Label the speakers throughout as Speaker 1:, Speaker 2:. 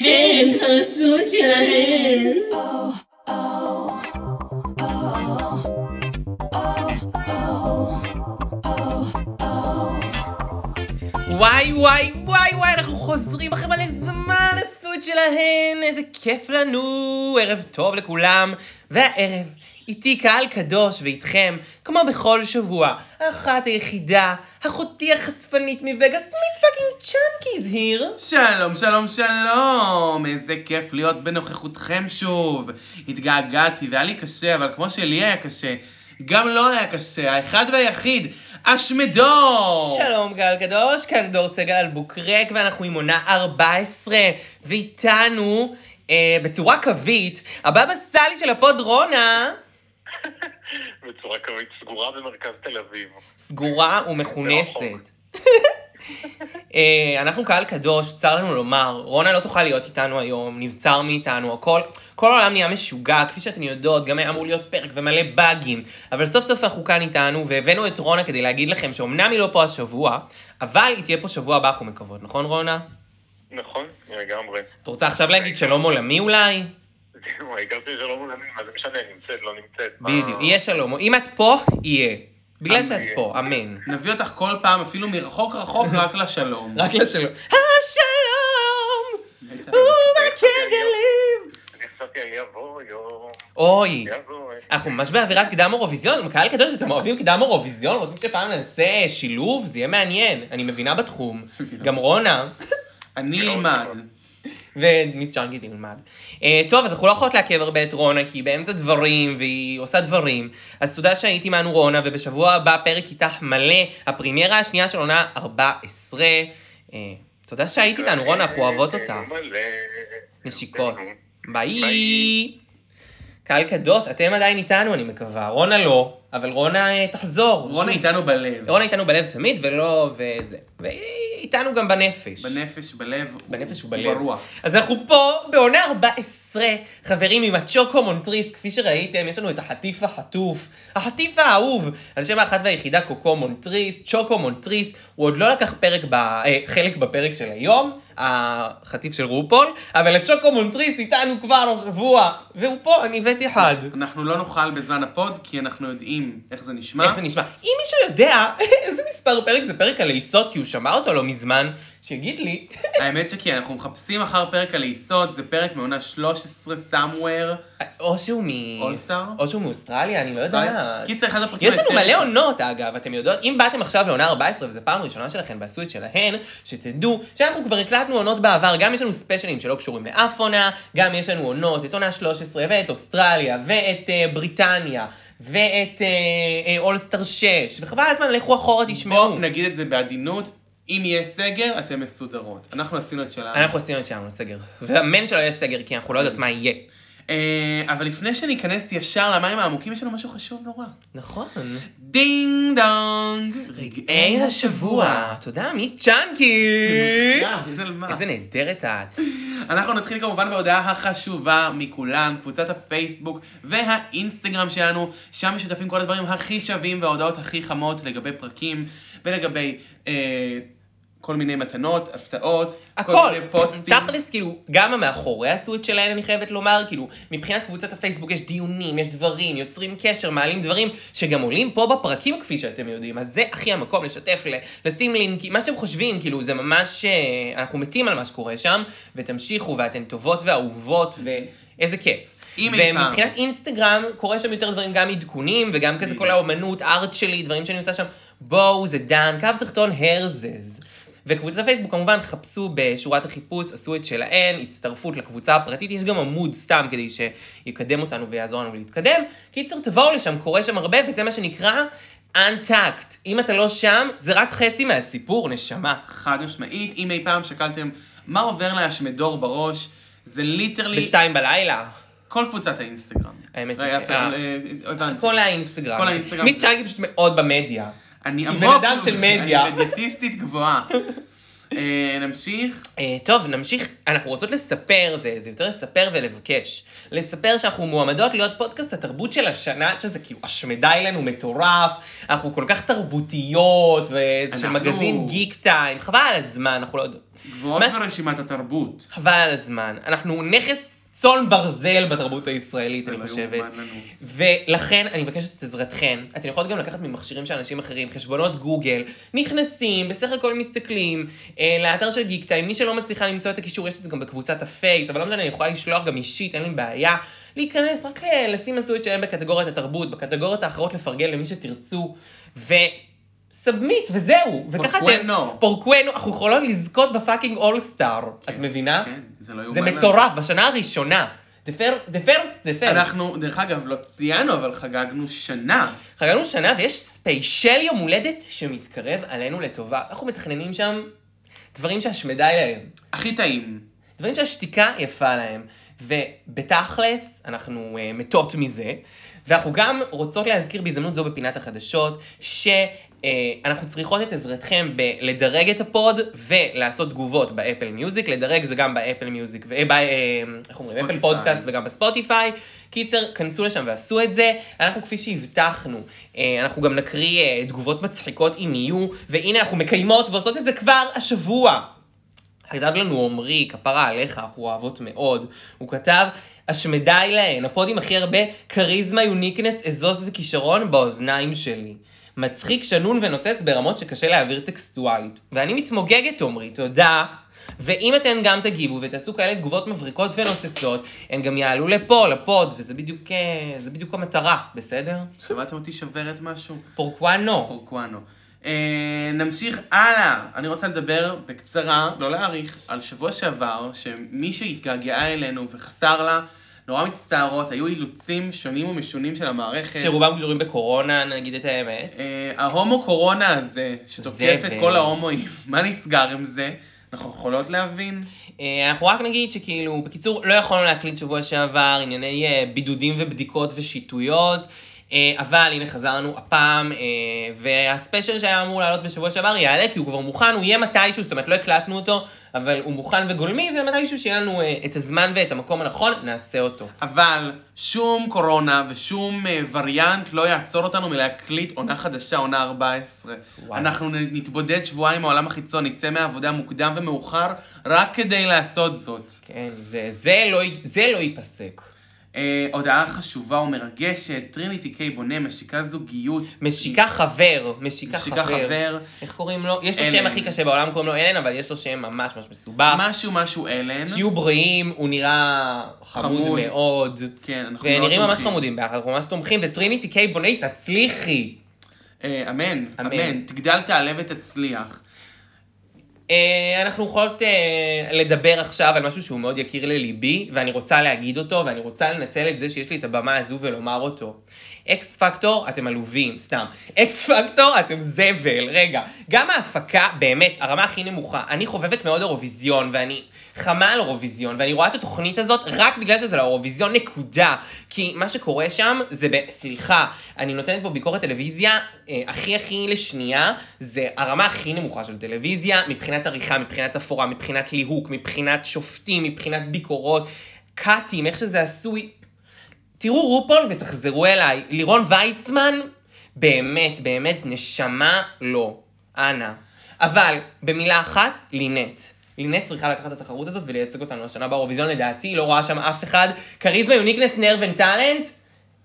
Speaker 1: הן הזוג שלהן.
Speaker 2: וואי וואי וואי וואי, אנחנו חוזרים אחרי מלא זמן הסוד שלהן, איזה כיף לנו, ערב טוב לכולם. והערב, איתי קהל קדוש ואיתכם, כמו בכל שבוע, האחת היחידה, אחותי החשפנית מווגאס, מיס פאקינג צ'אנקיז היר.
Speaker 3: שלום, שלום, שלום! איזה כיף להיות בנוכחותכם שוב. התגעגעתי והיה לי קשה, אבל כמו שלי היה קשה, גם לו לא היה קשה, האחד והיחיד, אשמדור!
Speaker 2: שלום גל קדוש, כאן דור סגל על בוקרק, ואנחנו עם עונה 14, ואיתנו, אה, בצורה קווית, הבבא סאלי של הפוד רונה.
Speaker 4: בצורה קווית סגורה במרכז תל אביב.
Speaker 2: סגורה ומכונסת. אה, אנחנו קהל קדוש, צר לנו לומר, רונה לא תוכל להיות איתנו היום, נבצר מאיתנו, הכל, כל העולם נהיה משוגע, כפי שאתן יודעות, גם היה אמור להיות פרק ומלא באגים, אבל סוף סוף אנחנו כאן איתנו, והבאנו את רונה כדי להגיד לכם שאומנם היא לא פה השבוע, אבל היא תהיה פה שבוע הבא, אנחנו מקוות, נכון רונה?
Speaker 4: נכון, לגמרי.
Speaker 2: את רוצה עכשיו להגיד שלום עולמי אולי?
Speaker 4: זהו, העיקר שזה לא מולמים, מה זה משנה, נמצאת, לא נמצאת. מה-
Speaker 2: בדיוק, יהיה שלום, אם את פה, יהיה. בגלל
Speaker 4: אמן.
Speaker 2: שאת פה, אה. אמן.
Speaker 3: נביא אותך כל פעם, אפילו מרחוק רחוק, רק לשלום.
Speaker 2: רק לשלום. השלום! ובקגלים!
Speaker 4: אני חשבתי, יבוא יום,
Speaker 2: אוי,
Speaker 4: יבוא.
Speaker 2: אנחנו ממש באווירת קדם אירוויזיון, קהל קדוש, אתם אוהבים קדם אירוויזיון, רוצים שפעם נעשה אה, שילוב? זה יהיה מעניין, אני מבינה בתחום. גם רונה לא,
Speaker 3: אני אלמד.
Speaker 2: ומיס צ'אנקי תלמד. אה, טוב, אז אנחנו לא יכולות לעכב הרבה את רונה, כי היא באמצע דברים, והיא עושה דברים. אז תודה שהיית עמנו רונה, ובשבוע הבא פרק איתך מלא, הפרימיירה השנייה של עונה 14. אה, תודה שהיית
Speaker 4: אוקיי.
Speaker 2: איתנו, רונה, אנחנו אוהבות אותך.
Speaker 4: מלא.
Speaker 2: נשיקות. ביי.
Speaker 4: ביי.
Speaker 2: קהל קדוש, אתם עדיין איתנו, אני מקווה. רונה לא, אבל רונה אה, תחזור.
Speaker 3: רונה
Speaker 2: שוב.
Speaker 3: איתנו בלב.
Speaker 2: רונה איתנו בלב תמיד, ולא וזה. והיא איתנו גם בנפש.
Speaker 3: בנפש, בלב.
Speaker 2: בנפש ובלב.
Speaker 3: ברוח.
Speaker 2: אז אנחנו פה בעונה 14, חברים, עם הצ'וקו מונטריס, כפי שראיתם, יש לנו את החטיף החטוף, החטיף האהוב, על שם האחת והיחידה קוקו מונטריס, צ'וקו מונטריס, הוא עוד לא לקח פרק ב... אה, חלק בפרק של היום, החטיף של רופול, אבל הצ'וקו מונטריס איתנו כבר השבוע, והוא פה, אני הבאתי אחד.
Speaker 3: אנחנו לא נאכל בזמן הפוד, כי אנחנו יודעים איך זה נשמע.
Speaker 2: איך זה נשמע? אם מישהו יודע איזה מספר פרק זה פרק על היסוד, כי הוא שמע אותו לא מזמן, שיגיד לי.
Speaker 3: האמת שכן, אנחנו מחפשים אחר פרק על היסוד, זה פרק מעונה 13, somewhere.
Speaker 2: או שהוא מ...
Speaker 3: אולסטאר?
Speaker 2: או שהוא מאוסטרליה, אני לא יודעת.
Speaker 3: קיצר, אחד הפרקים
Speaker 2: יש לנו
Speaker 3: היותר-
Speaker 2: מלא עונות, אגב, אתם יודעות, אם באתם עכשיו לעונה 14, וזו פעם ראשונה שלכם ועשו את שלהן, שתדעו שאנחנו כבר הקלטנו עונות בעבר, גם יש לנו ספיישלים שלא קשורים לאף עונה, גם יש לנו עונות, את עונה 13, ואת אוסטרליה, ואת אה, בריטניה, ואת אה, אולסטר 6, וחבל על הזמן, לכו אחורה, תשמעו.
Speaker 3: בואו נגיד את זה בעדינות, אם יהיה סגר, אתם מסודרות. אנחנו עשינו את שלנו.
Speaker 2: אנחנו עשינו את שלנו סגר, ואמן שלא יהיה סגר, כי אנחנו לא יודעות מה יהיה.
Speaker 3: אה, אבל לפני שניכנס ישר למים העמוקים, יש לנו משהו חשוב נורא.
Speaker 2: נכון.
Speaker 3: דינג דונג!
Speaker 2: רגעי אה, השבוע. תודה, מיס צ'אנקי.
Speaker 3: יאללה, על מה?
Speaker 2: איזה נהדרת את.
Speaker 3: אנחנו נתחיל כמובן בהודעה החשובה מכולן, קבוצת הפייסבוק והאינסטגרם שלנו, שם משותפים כל הדברים הכי שווים וההודעות הכי חמות לגבי פרקים ולגבי אה, כל מיני מתנות, הפתעות, כל
Speaker 2: הכל,
Speaker 3: מיני פוסטים.
Speaker 2: תכלס, כאילו, גם המאחורי הסוויט שלהן, אני חייבת לומר, כאילו, מבחינת קבוצת הפייסבוק יש דיונים, יש דברים, יוצרים קשר, מעלים דברים, שגם עולים פה בפרקים, כפי שאתם יודעים, אז זה הכי המקום לשתף, ל- לשים לינקים, מה שאתם חושבים, כאילו, זה ממש, אה, אנחנו מתים על מה שקורה שם, ותמשיכו, ואתן טובות ואהובות, ואיזה כיף.
Speaker 3: אם אי פעם.
Speaker 2: ומבחינת אינסטגרם, קורה שם יותר דברים, גם עדכונים, וגם כזה כל האומנות, ארט שלי, דברים שאני עושה שם. בואו, זה דן, קו תחתון, הרזז. וקבוצת הפייסבוק כמובן, חפשו בשורת החיפוש, עשו את שלהן, הצטרפות לקבוצה הפרטית, יש גם עמוד סתם כדי שיקדם אותנו ויעזור לנו להתקדם. קיצר, תבואו לשם, קורה שם הרבה, וזה מה שנקרא Untact. אם אתה לא שם, זה רק חצי מהסיפור, נשמה.
Speaker 3: חד משמעית, אם אי פעם שקלתם מה עובר להשמדור בראש, זה ליטרלי
Speaker 2: בשתיים בלילה.
Speaker 3: כל קבוצת האינסטגרם.
Speaker 2: האמת
Speaker 3: רגע,
Speaker 2: שכן.
Speaker 3: אה, אה, הבנתי.
Speaker 2: כל האינסטגרם.
Speaker 3: כל האינסטגרם.
Speaker 2: מיס צ'אנקי פשוט מאוד במדיה.
Speaker 3: אני
Speaker 2: היא
Speaker 3: עמוק.
Speaker 2: בן אדם של מדיה.
Speaker 3: אני מדיאטיסטית גבוהה. אה, נמשיך.
Speaker 2: אה, טוב, נמשיך. אנחנו רוצות לספר, זה, זה יותר לספר ולבקש. לספר שאנחנו מועמדות להיות פודקאסט התרבות של השנה, שזה כאילו השמדה אלינו מטורף, אנחנו כל כך תרבותיות, וזה של
Speaker 3: אנחנו-
Speaker 2: מגזין גיק טיים, חבל על הזמן, אנחנו לא יודעות.
Speaker 3: גבוהות
Speaker 2: מה ש-
Speaker 3: ברשימת התרבות.
Speaker 2: חבל על הזמן. אנחנו נכס צאן ברזל בתרבות הישראלית, אני
Speaker 3: אלוהים,
Speaker 2: חושבת.
Speaker 3: מה לא לנו?
Speaker 2: ולכן אני מבקשת את עזרתכן. אתן יכולות גם לקחת ממכשירים של אנשים אחרים, חשבונות גוגל, נכנסים, בסך הכל מסתכלים, אה, לאתר של גיק טיים, מי שלא מצליחה למצוא את הקישור, יש את זה גם בקבוצת הפייס, אבל לא משנה, אני יכולה לשלוח גם אישית, אין לי בעיה. להיכנס, רק ל- לשים עשוי שלהם בקטגוריית התרבות, בקטגוריות האחרות לפרגן למי שתרצו, ו... סבמיט, וזהו. וככה אתם...
Speaker 3: פורקוונו.
Speaker 2: פורקוונו, אנחנו יכולות לא לזכות בפאקינג אולסטאר. את מבינה?
Speaker 3: כן, זה לא
Speaker 2: אה? זה
Speaker 3: יאומן. לנו.
Speaker 2: מטורף, בשנה הראשונה. The first, the first, the first.
Speaker 3: אנחנו, דרך אגב, לא ציינו, אבל חגגנו שנה.
Speaker 2: חגגנו שנה ויש ספיישל יום הולדת שמתקרב עלינו לטובה. אנחנו מתכננים שם דברים שהשמדה אליהם.
Speaker 3: הכי טעים.
Speaker 2: דברים שהשתיקה יפה להם. ובתכלס, אנחנו uh, מתות מזה, ואנחנו גם רוצות להזכיר בהזדמנות זו בפינת החדשות, שאנחנו צריכות את עזרתכם בלדרג את הפוד ולעשות תגובות באפל מיוזיק, לדרג זה גם באפל מיוזיק, ו... ב... אה, איך אומרים?
Speaker 3: ספוטיפיי.
Speaker 2: אפל פודקאסט וגם בספוטיפיי. קיצר, כנסו לשם ועשו את זה. אנחנו, כפי שהבטחנו, אה, אנחנו גם נקריא אה, תגובות מצחיקות אם יהיו, והנה אנחנו מקיימות ועושות את זה כבר השבוע. כתב לנו עמרי, כפרה עליך, אנחנו אוהבות מאוד. הוא כתב, השמדי להן, הפוד עם הכי הרבה כריזמה, יוניקנס, אזוז וכישרון באוזניים שלי. מצחיק, שנון ונוצץ ברמות שקשה להעביר טקסטואלית. ואני מתמוגגת, עמרי, תודה. ואם אתן גם תגיבו ותעשו כאלה תגובות מבריקות ונוצצות, הן גם יעלו לפה, לפוד, וזה בדיוק, אה, זה בדיוק המטרה, בסדר?
Speaker 3: שמעתם אותי שוברת משהו?
Speaker 2: פורקואנו.
Speaker 3: פורקואנו. אה, נמשיך הלאה. אני רוצה לדבר בקצרה, לא להאריך, על שבוע שעבר, שמי שהתגעגעה אלינו וחסר לה, נורא מצטערות, היו אילוצים שונים ומשונים של המערכת.
Speaker 2: שרובם קשורים בקורונה, נגיד את האמת.
Speaker 3: אה, ההומו קורונה הזה, שתוקף את
Speaker 2: זבל.
Speaker 3: כל ההומואים, מה נסגר עם זה? אנחנו יכולות להבין?
Speaker 2: אה, אנחנו רק נגיד שכאילו, בקיצור, לא יכולנו להקליט שבוע שעבר ענייני אה, בידודים ובדיקות ושיטויות, אה, אבל הנה חזרנו הפעם, אה, והספיישל שהיה אמור לעלות בשבוע שעבר יעלה, כי הוא כבר מוכן, הוא יהיה מתישהו, זאת אומרת, לא הקלטנו אותו, אבל הוא מוכן וגולמי, ומתישהו שיהיה לנו אה, את הזמן ואת המקום הנכון, נעשה אותו.
Speaker 3: אבל שום קורונה ושום אה, וריאנט לא יעצור אותנו מלהקליט עונה חדשה, עונה 14.
Speaker 2: וואי.
Speaker 3: אנחנו נ- נתבודד שבועיים עם העולם החיצון, נצא מהעבודה מוקדם ומאוחר, רק כדי לעשות זאת.
Speaker 2: כן, זה, זה, לא, י- זה לא ייפסק.
Speaker 3: אה, הודעה חשובה ומרגשת, טריניטי קיי בונה משיקה זוגיות.
Speaker 2: משיקה חבר, משיקה,
Speaker 3: משיקה חבר.
Speaker 2: איך קוראים לו? יש לו
Speaker 3: אלן.
Speaker 2: שם הכי קשה בעולם, קוראים לו אלן, אבל יש לו שם ממש ממש מסובך.
Speaker 3: משהו משהו אלן.
Speaker 2: שיהיו כן. בריאים, הוא נראה חמוד,
Speaker 3: חמוד.
Speaker 2: מאוד.
Speaker 3: כן, אנחנו מאוד
Speaker 2: ונראים ממש
Speaker 3: תומכים.
Speaker 2: חמודים ביחד, אנחנו ממש תומכים, וטריניטי קיי בוני תצליחי.
Speaker 3: אה, אמן,
Speaker 2: אמן.
Speaker 3: אמן. תגדל, תעלה ותצליח.
Speaker 2: אה, אנחנו יכולות אה, לדבר עכשיו על משהו שהוא מאוד יקיר לליבי, ואני רוצה להגיד אותו, ואני רוצה לנצל את זה שיש לי את הבמה הזו ולומר אותו. אקס פקטור, אתם עלובים, סתם. אקס פקטור, אתם זבל. רגע, גם ההפקה, באמת, הרמה הכי נמוכה. אני חובבת מאוד אירוויזיון, ואני חמה על אירוויזיון, ואני רואה את התוכנית הזאת רק בגלל שזה לאירוויזיון, נקודה. כי מה שקורה שם זה, ב... סליחה, אני נותנת פה ביקורת טלוויזיה אה, הכי הכי לשנייה, זה הרמה הכי נמוכה של טלוויזיה, מבחינת עריכה, מבחינת הפורה, מבחינת ליהוק, מבחינת שופטים, מבחינת ביקורות, קאטים, איך שזה עשוי. תראו רופול ותחזרו אליי. לירון ויצמן, באמת, באמת, נשמה לא. אנא. אבל, במילה אחת, לינט. לינט צריכה לקחת את התחרות הזאת ולייצג אותנו השנה באירוויזיון, לדעתי, לא רואה שם אף אחד. כריזמה, יוניקנס, נר וטאלנט,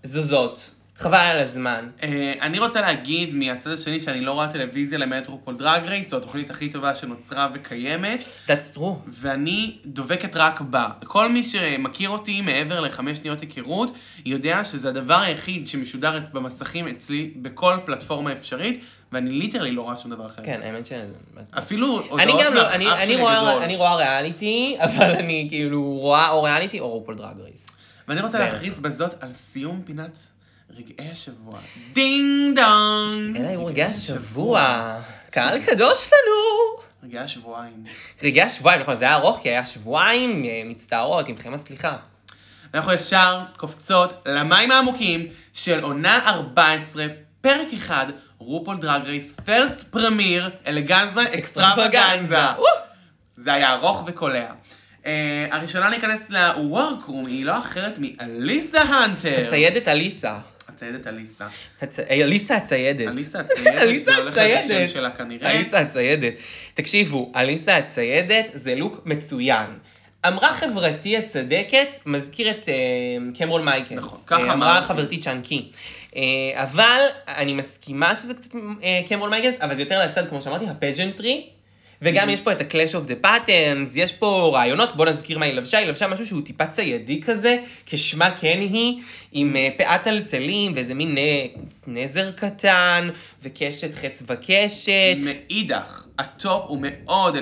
Speaker 2: זו זאת. חבל על הזמן.
Speaker 3: אה, אני רוצה להגיד מהצד השני שאני לא רואה טלוויזיה למעט רופול דרג רייס, זו התוכנית הכי טובה שנוצרה וקיימת,
Speaker 2: That's true.
Speaker 3: ואני דובקת רק בה. כל מי שמכיר אותי מעבר לחמש שניות היכרות, יודע שזה הדבר היחיד שמשודר את- במסכים אצלי בכל פלטפורמה אפשרית, ואני ליטרלי לא רואה שום דבר אחר.
Speaker 2: כן, האמת שזה...
Speaker 3: אפילו הודעות
Speaker 2: אני גם לא,
Speaker 3: מהאח
Speaker 2: אני, אני,
Speaker 3: שלי
Speaker 2: רואה,
Speaker 3: הגדול.
Speaker 2: אני רואה ריאליטי, אבל אני כאילו רואה או ריאליטי או רופול דרג רייס.
Speaker 3: ואני רוצה
Speaker 2: בערך.
Speaker 3: להכריז בזאת על סיום פינת רגעי השבוע. דינג דונג!
Speaker 2: אלה היו
Speaker 3: כן,
Speaker 2: רגעי השבוע. קהל קדוש לנו.
Speaker 3: רגעי השבועיים.
Speaker 2: רגעי השבועיים, נכון, זה היה ארוך, כי היה שבועיים אה, מצטערות, עמכם הסליחה.
Speaker 3: ואנחנו ישר קופצות למים העמוקים של עונה 14, פרק 1, רופול דרג רייס, פרסט פרמיר, אלגנזה, אקסטרווגנזה. זה היה ארוך וקולע. Uh, הראשונה להיכנס לוורקרום היא לא אחרת מאליסה הנטר.
Speaker 2: תצייד את אליסה.
Speaker 3: הציידת אליסה.
Speaker 2: הצ- אה, אליסה הציידת.
Speaker 3: אליסה הציידת,
Speaker 2: אליסה
Speaker 3: זה הולך להיות השם
Speaker 2: הציידת.
Speaker 3: שלה כנראה.
Speaker 2: אליסה הציידת. תקשיבו, אליסה הציידת זה לוק מצוין. אמרה חברתי הצדקת, מזכיר את אה, קמרון מייקלס.
Speaker 3: נכון, ככה
Speaker 2: אה, אמרה
Speaker 3: אמרתי.
Speaker 2: חברתי צ'אנקי. אה, אבל אני מסכימה שזה קצת אה, קמרון מייקלס, אבל זה יותר לצד, כמו שאמרתי, הפג'נטרי.
Speaker 3: Mhm.
Speaker 2: וגם יש פה את ה-clash of the patterns, יש פה רעיונות, בוא נזכיר מה היא לבשה, היא לבשה משהו שהוא טיפה ציידי כזה, כשמה כן היא, עם אה, פאת טלטלים ואיזה מין אה, נזר קטן, וקשת חץ וקשת,
Speaker 3: מאידך, הטופ הוא מאוד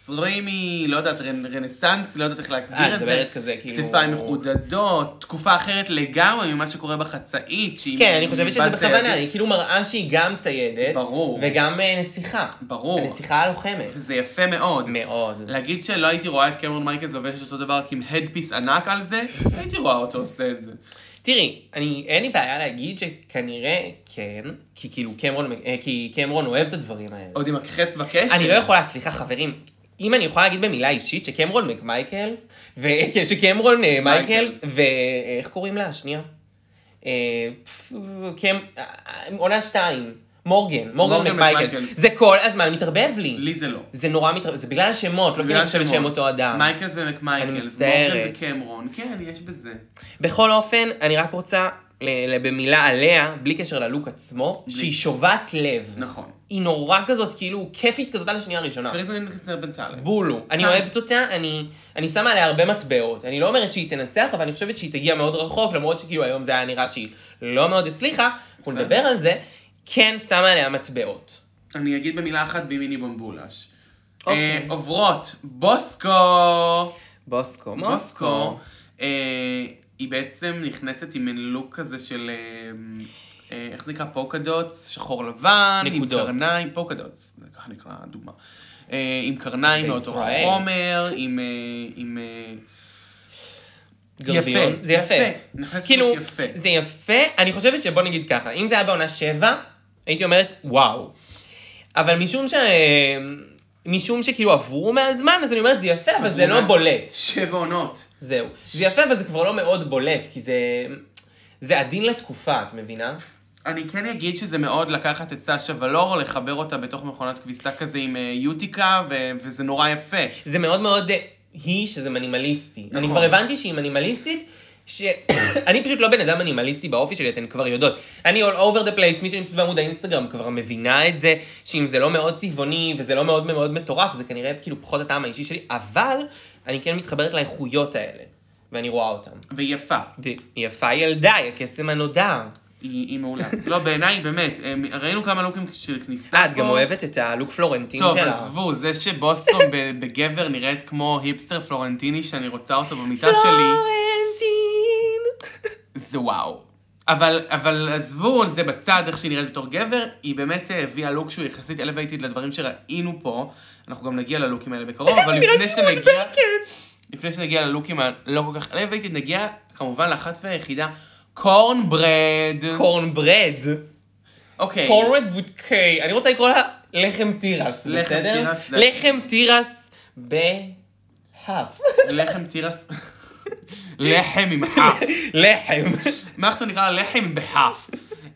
Speaker 3: 1920, לא יודעת, רנ- רנסאנס, לא יודעת איך
Speaker 2: אה,
Speaker 3: להגדיר
Speaker 2: את
Speaker 3: את
Speaker 2: מדברת
Speaker 3: זה.
Speaker 2: כזה, כאילו...
Speaker 3: כתפיים מחודדות, תקופה אחרת לגמרי ממה שקורה בחצאית, שהיא...
Speaker 2: כן, אני חושבת שזה
Speaker 3: בת
Speaker 2: בכוונה,
Speaker 3: ציידת.
Speaker 2: היא כאילו מראה שהיא גם ציידת.
Speaker 3: ברור.
Speaker 2: וגם אה, נסיכה.
Speaker 3: ברור.
Speaker 2: הנסיכה הלוחמת.
Speaker 3: וזה יפה מאוד.
Speaker 2: מאוד.
Speaker 3: להגיד שלא הייתי רואה את קמרון מייקלס לובשת אותו דבר כי עם הדפיס ענק על זה, הייתי רואה אותו עושה את זה.
Speaker 2: תראי, אני, אין לי בעיה להגיד שכנראה כן, כי כאילו קמרון, אה, כי קמרון אוהב את הדברים האלה.
Speaker 3: עוד עם הקחץ וקשר.
Speaker 2: אני לא יכולה, סליחה חברים, אם אני יכולה להגיד במילה אישית שקמרון מייקלס, ושקמרון אה, מייקלס,
Speaker 3: מייקלס.
Speaker 2: ואיך קוראים לה? השנייה. אה, פפ, קמ... אה, עונה שתיים, מורגן,
Speaker 3: מורגן
Speaker 2: מורגן מייקלס.
Speaker 3: מקמייקלס.
Speaker 2: זה כל הזמן מתרבב לי.
Speaker 3: לי זה לא.
Speaker 2: זה נורא מתרבב, זה בגלל השמות, לא כי
Speaker 3: בגלל
Speaker 2: אני חושבת שהם
Speaker 3: השמות.
Speaker 2: אותו אדם.
Speaker 3: מייקלס ומקמייקלס,
Speaker 2: אני
Speaker 3: מורגן
Speaker 2: מצטערת.
Speaker 3: וקמרון, כן, יש בזה.
Speaker 2: בכל אופן, אני רק רוצה אה, ל- ל- במילה עליה, בלי קשר ללוק עצמו, שהיא שובת לב.
Speaker 3: נכון.
Speaker 2: היא נורא כזאת, כאילו, כיפית כזאת על השנייה הראשונה.
Speaker 3: כריזמה נכנסת בנטליה.
Speaker 2: בולו. אני
Speaker 3: כן.
Speaker 2: אוהבת אותה, אני, אני שמה עליה הרבה מטבעות. אני לא אומרת שהיא תנצח, אבל אני חושבת שהיא תגיע מאוד רחוק, למרות שכאילו היום זה היה נראה שהיא לא מאוד הצליחה, אנחנו
Speaker 3: בסדר.
Speaker 2: נדבר על זה, כן שמה עליה מטבעות.
Speaker 3: אני אגיד במילה אחת בימיני בומבולש.
Speaker 2: אוקיי.
Speaker 3: אה, עוברות, בוסקו!
Speaker 2: בוסקו,
Speaker 3: מוסקו, אה, היא בעצם נכנסת עם מין לוק כזה של, אה, אה, איך זה נקרא? פוקדוטס, שחור לבן,
Speaker 2: נקודות.
Speaker 3: עם קרניים, פוקדוטס, זה ככה נקרא הדוגמה. אה, עם קרניים מאותו
Speaker 2: בישראל.
Speaker 3: חומר, עם... אה, עם אה,
Speaker 2: גרביון.
Speaker 3: יפה,
Speaker 2: זה יפה.
Speaker 3: יפה. נכנס
Speaker 2: כאילו,
Speaker 3: לוק יפה.
Speaker 2: זה יפה, אני חושבת שבוא נגיד ככה, אם זה היה בעונה שבע, הייתי אומרת, וואו. אבל משום ש... משום שכאילו עברו מהזמן, אז אני אומרת, זה יפה, אבל זה
Speaker 3: עברו
Speaker 2: לא
Speaker 3: מה-
Speaker 2: בולט.
Speaker 3: שבע עונות.
Speaker 2: זהו. זה יפה, אבל זה כבר לא מאוד בולט, כי זה... זה עדין לתקופה, את מבינה?
Speaker 3: אני כן אגיד שזה מאוד לקחת את סשה ולור, לחבר אותה בתוך מכונת כביסה כזה עם אה, יוטיקה, ו- וזה נורא יפה.
Speaker 2: זה מאוד מאוד אה, היא שזה מנימליסטי. אני
Speaker 3: נכון.
Speaker 2: כבר הבנתי שהיא מנימליסטית, שאני פשוט לא בן אדם מנימליסטי באופי שלי, אתן כבר יודעות. אני all over the place, מי שנמצאת בעמוד האינסטגרם כבר מבינה את זה, שאם זה לא מאוד צבעוני וזה לא מאוד מאוד מטורף, זה כנראה כאילו פחות הטעם האישי שלי, אבל אני כן מתחברת לאיכויות האלה, ואני רואה אותן.
Speaker 3: והיא יפה.
Speaker 2: ויפה ילדה, היא הקסם הנודע.
Speaker 3: היא, היא מעולה. לא, בעיניי, באמת, הם- ראינו כמה לוקים של כניסה
Speaker 2: אה, את גם
Speaker 3: פה.
Speaker 2: אוהבת את הלוק פלורנטין
Speaker 3: נכון. טוב,
Speaker 2: שלה.
Speaker 3: עזבו, זה שבוסטון ב- בגבר נראית כמו היפסטר פלורנטיני שאני רוצה אותו במיטה שלי,
Speaker 2: פלורנטין.
Speaker 3: זה וואו. אבל, אבל עזבו את זה בצד, איך שהיא נראית בתור גבר, היא באמת אה, הביאה לוק שהוא יחסית אלווייטד לדברים שראינו פה. אנחנו גם נגיע ללוקים האלה בקרוב, אבל לפני שנגיע... לפני שנגיע ללוקים הלא כל כך אלווייטד, נגיע כמובן לאחת והיחידה, קורנברד.
Speaker 2: קורנברד.
Speaker 3: אוקיי.
Speaker 2: קורנברד בוטקיי. אני רוצה לקרוא לה לחם תירס,
Speaker 3: לחם
Speaker 2: בסדר?
Speaker 3: תירס, זה-
Speaker 2: לחם תירס בהאף.
Speaker 3: לחם תירס... לחם עם אף.
Speaker 2: לחם.
Speaker 3: מה עכשיו נקרא לחם בחף?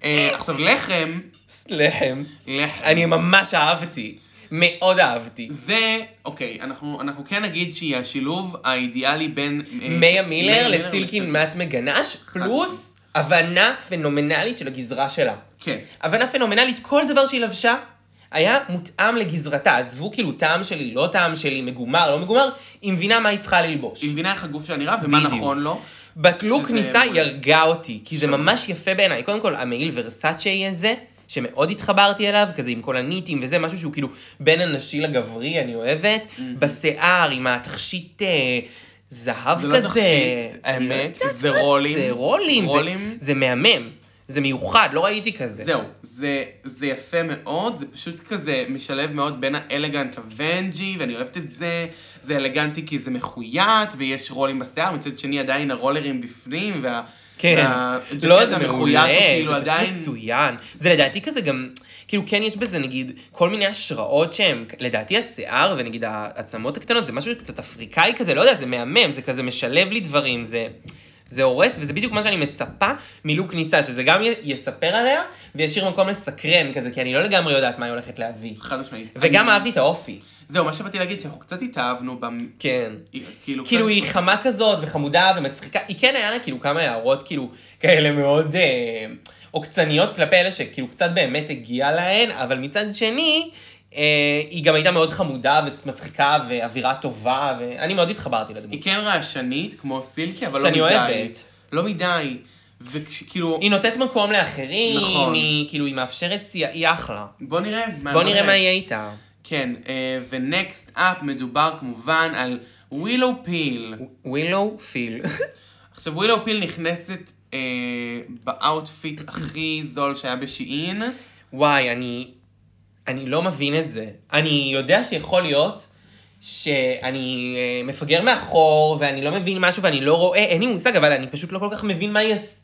Speaker 3: אה, עכשיו לחם,
Speaker 2: לחם.
Speaker 3: לחם.
Speaker 2: אני אמ- ממש אהבתי. מאוד אהבתי.
Speaker 3: זה, אוקיי, אנחנו אנחנו כן נגיד שהיא השילוב האידיאלי בין... אה,
Speaker 2: מאיה מילר
Speaker 3: לסילקין.
Speaker 2: לסילקין מת מגנש, פלוס הבנה פנומנלית של הגזרה שלה.
Speaker 3: כן.
Speaker 2: הבנה פנומנלית, כל דבר שהיא לבשה היה מותאם לגזרתה. עזבו כאילו טעם שלי, לא טעם שלי, מגומר, לא מגומר, היא מבינה מה היא צריכה ללבוש.
Speaker 3: היא מבינה איך הגוף שלה נראה ומה
Speaker 2: בדיוק.
Speaker 3: נכון לו.
Speaker 2: בתלוק
Speaker 3: שזה
Speaker 2: כניסה היא
Speaker 3: מעולה.
Speaker 2: הרגה אותי, כי זה ממש יפה בעיניי. קודם כל, המעיל ורסאצ'י הזה, שמאוד התחברתי אליו, כזה עם כל הניטים וזה, משהו שהוא כאילו בין הנשי לגברי, אני אוהבת. בשיער, עם התכשיט... אה, זהב
Speaker 3: זה לא
Speaker 2: כזה.
Speaker 3: תכשיט,
Speaker 2: אני לא
Speaker 3: האמת,
Speaker 2: יודעת
Speaker 3: זה
Speaker 2: מה
Speaker 3: רולים.
Speaker 2: זה רולים. זה-
Speaker 3: רולים.
Speaker 2: זה מהמם. זה מיוחד, לא ראיתי כזה.
Speaker 3: זהו, זה, זה יפה מאוד, זה פשוט כזה משלב מאוד בין האלגנט לוונג'י, ואני אוהבת את זה. זה אלגנטי כי זה מחויט, ויש רולים בשיער, מצד שני עדיין הרולרים בפנים, וה...
Speaker 2: כן.
Speaker 3: והג'קט
Speaker 2: לא, זה
Speaker 3: המחויט הוא
Speaker 2: מעולה,
Speaker 3: כאילו
Speaker 2: זה
Speaker 3: עדיין-
Speaker 2: פשוט מצוין. זה לדעתי כזה גם, כאילו כן יש בזה נגיד כל מיני השראות שהן, לדעתי השיער ונגיד העצמות הקטנות זה משהו קצת אפריקאי כזה, לא יודע, זה מהמם, זה כזה משלב לי דברים, זה... זה הורס, וזה בדיוק מה שאני מצפה מלוק כניסה, שזה גם י- יספר עליה, וישאיר מקום לסקרן כזה, כי אני לא לגמרי יודעת מה היא הולכת להביא.
Speaker 3: חד משמעית.
Speaker 2: וגם
Speaker 3: אני-
Speaker 2: אהבתי את האופי.
Speaker 3: זהו, מה שבאתי להגיד, שאנחנו קצת התאהבנו במ...
Speaker 2: כן.
Speaker 3: כאילו,
Speaker 2: כאילו
Speaker 3: קצת-
Speaker 2: היא חמה כזאת וחמודה ומצחיקה, היא כן היה לה כאילו כמה הערות כאילו כאלה מאוד אה, עוקצניות כלפי אלה שכאילו קצת באמת הגיע להן, אבל מצד שני, אה, היא גם הייתה מאוד חמודה ומצחיקה ואווירה טובה, ואני מאוד התחברתי לדמות.
Speaker 3: היא כן רעשנית, כמו סילקי, אבל לא מדי.
Speaker 2: שאני אוהבת.
Speaker 3: לא מדי. כאילו, וכאילו,
Speaker 2: היא נותנת מקום לאחרים,
Speaker 3: נכון.
Speaker 2: היא כאילו היא מאפשרת, סי- היא אחלה.
Speaker 3: בוא נראה.
Speaker 2: בוא נראה מה יהיה איתה.
Speaker 3: כן, ונקסט אפ מדובר כמובן על ווילו פיל.
Speaker 2: ווילו פיל.
Speaker 3: עכשיו, ווילו פיל נכנסת אה, באאוטפיט הכי זול שהיה בשיעין.
Speaker 2: וואי, אני, אני לא מבין את זה. אני יודע שיכול להיות שאני אה, מפגר מאחור, ואני לא מבין משהו ואני לא רואה, אין לי מושג, אבל אני פשוט לא כל כך מבין מה היא... עש-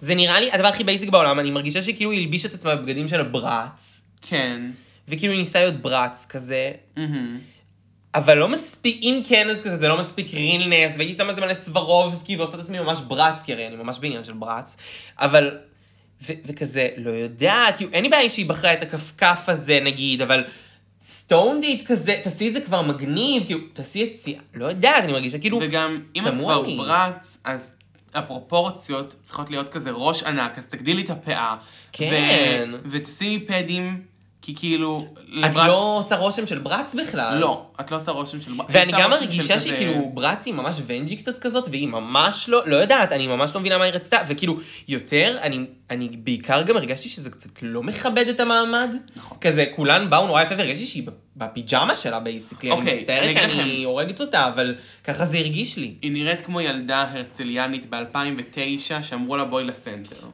Speaker 2: זה נראה לי הדבר הכי בייסיק בעולם, אני מרגישה שכאילו היא הלבישה את עצמה בבגדים של ברץ,
Speaker 3: כן.
Speaker 2: וכאילו היא ניסתה להיות ברץ כזה,
Speaker 3: מהמם.
Speaker 2: אבל לא מספיק, אם כן אז כזה, זה לא מספיק רילנס, והיא שמה את זה מלא סברובסקי ועושה את עצמי ממש ברץ, כי הרי אני ממש בעניין של ברץ, אבל, ו- וכזה, לא יודעת, כאילו, אין לי בעיה שהיא בחרה את הכפכף הזה נגיד, אבל סטונדיט כזה, תעשי את זה כבר מגניב, כאילו, תעשי יציאה, לא יודעת, אני מרגישה כאילו,
Speaker 3: וגם, אם את
Speaker 2: תמוה
Speaker 3: כבר
Speaker 2: לי.
Speaker 3: ברץ, אז הפרופורציות צריכות להיות כזה ראש ענק, אז תגדילי את הפאה.
Speaker 2: כן.
Speaker 3: ו- ותשימי פדים, כי כאילו,
Speaker 2: את לא עושה רושם של ברץ בכלל.
Speaker 3: לא, את לא עושה רושם של ברץ.
Speaker 2: ואני
Speaker 3: עושה
Speaker 2: גם
Speaker 3: רושם של
Speaker 2: מרגישה
Speaker 3: כזה-
Speaker 2: שהיא כאילו ברץ היא ממש ונג'י קצת כזאת, והיא ממש לא, לא יודעת, אני ממש לא מבינה מה היא רצתה, וכאילו, יותר, אני, אני בעיקר גם הרגשתי שזה קצת לא מכבד את המעמד.
Speaker 3: נכון.
Speaker 2: כזה, כולן באו נורא יפה, והרגשתי שהיא בפיג'מה שלה בייסיקלי,
Speaker 3: אוקיי,
Speaker 2: אני מצטערת
Speaker 3: אני אגיד
Speaker 2: שאני
Speaker 3: לכם.
Speaker 2: הורגת אותה, אבל ככה זה הרגיש לי.
Speaker 3: היא נראית כמו ילדה הרצליאנית ב-2009, שאמרו לה בואי לסנטר.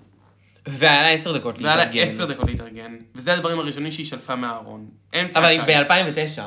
Speaker 2: והיה לה עשר דקות
Speaker 3: והיה לה
Speaker 2: להתארגן.
Speaker 3: עשר דקות להתארגן. וזה הדברים הראשונים שהיא שלפה מהארון. אין ספק.
Speaker 2: אבל היא ב-2009.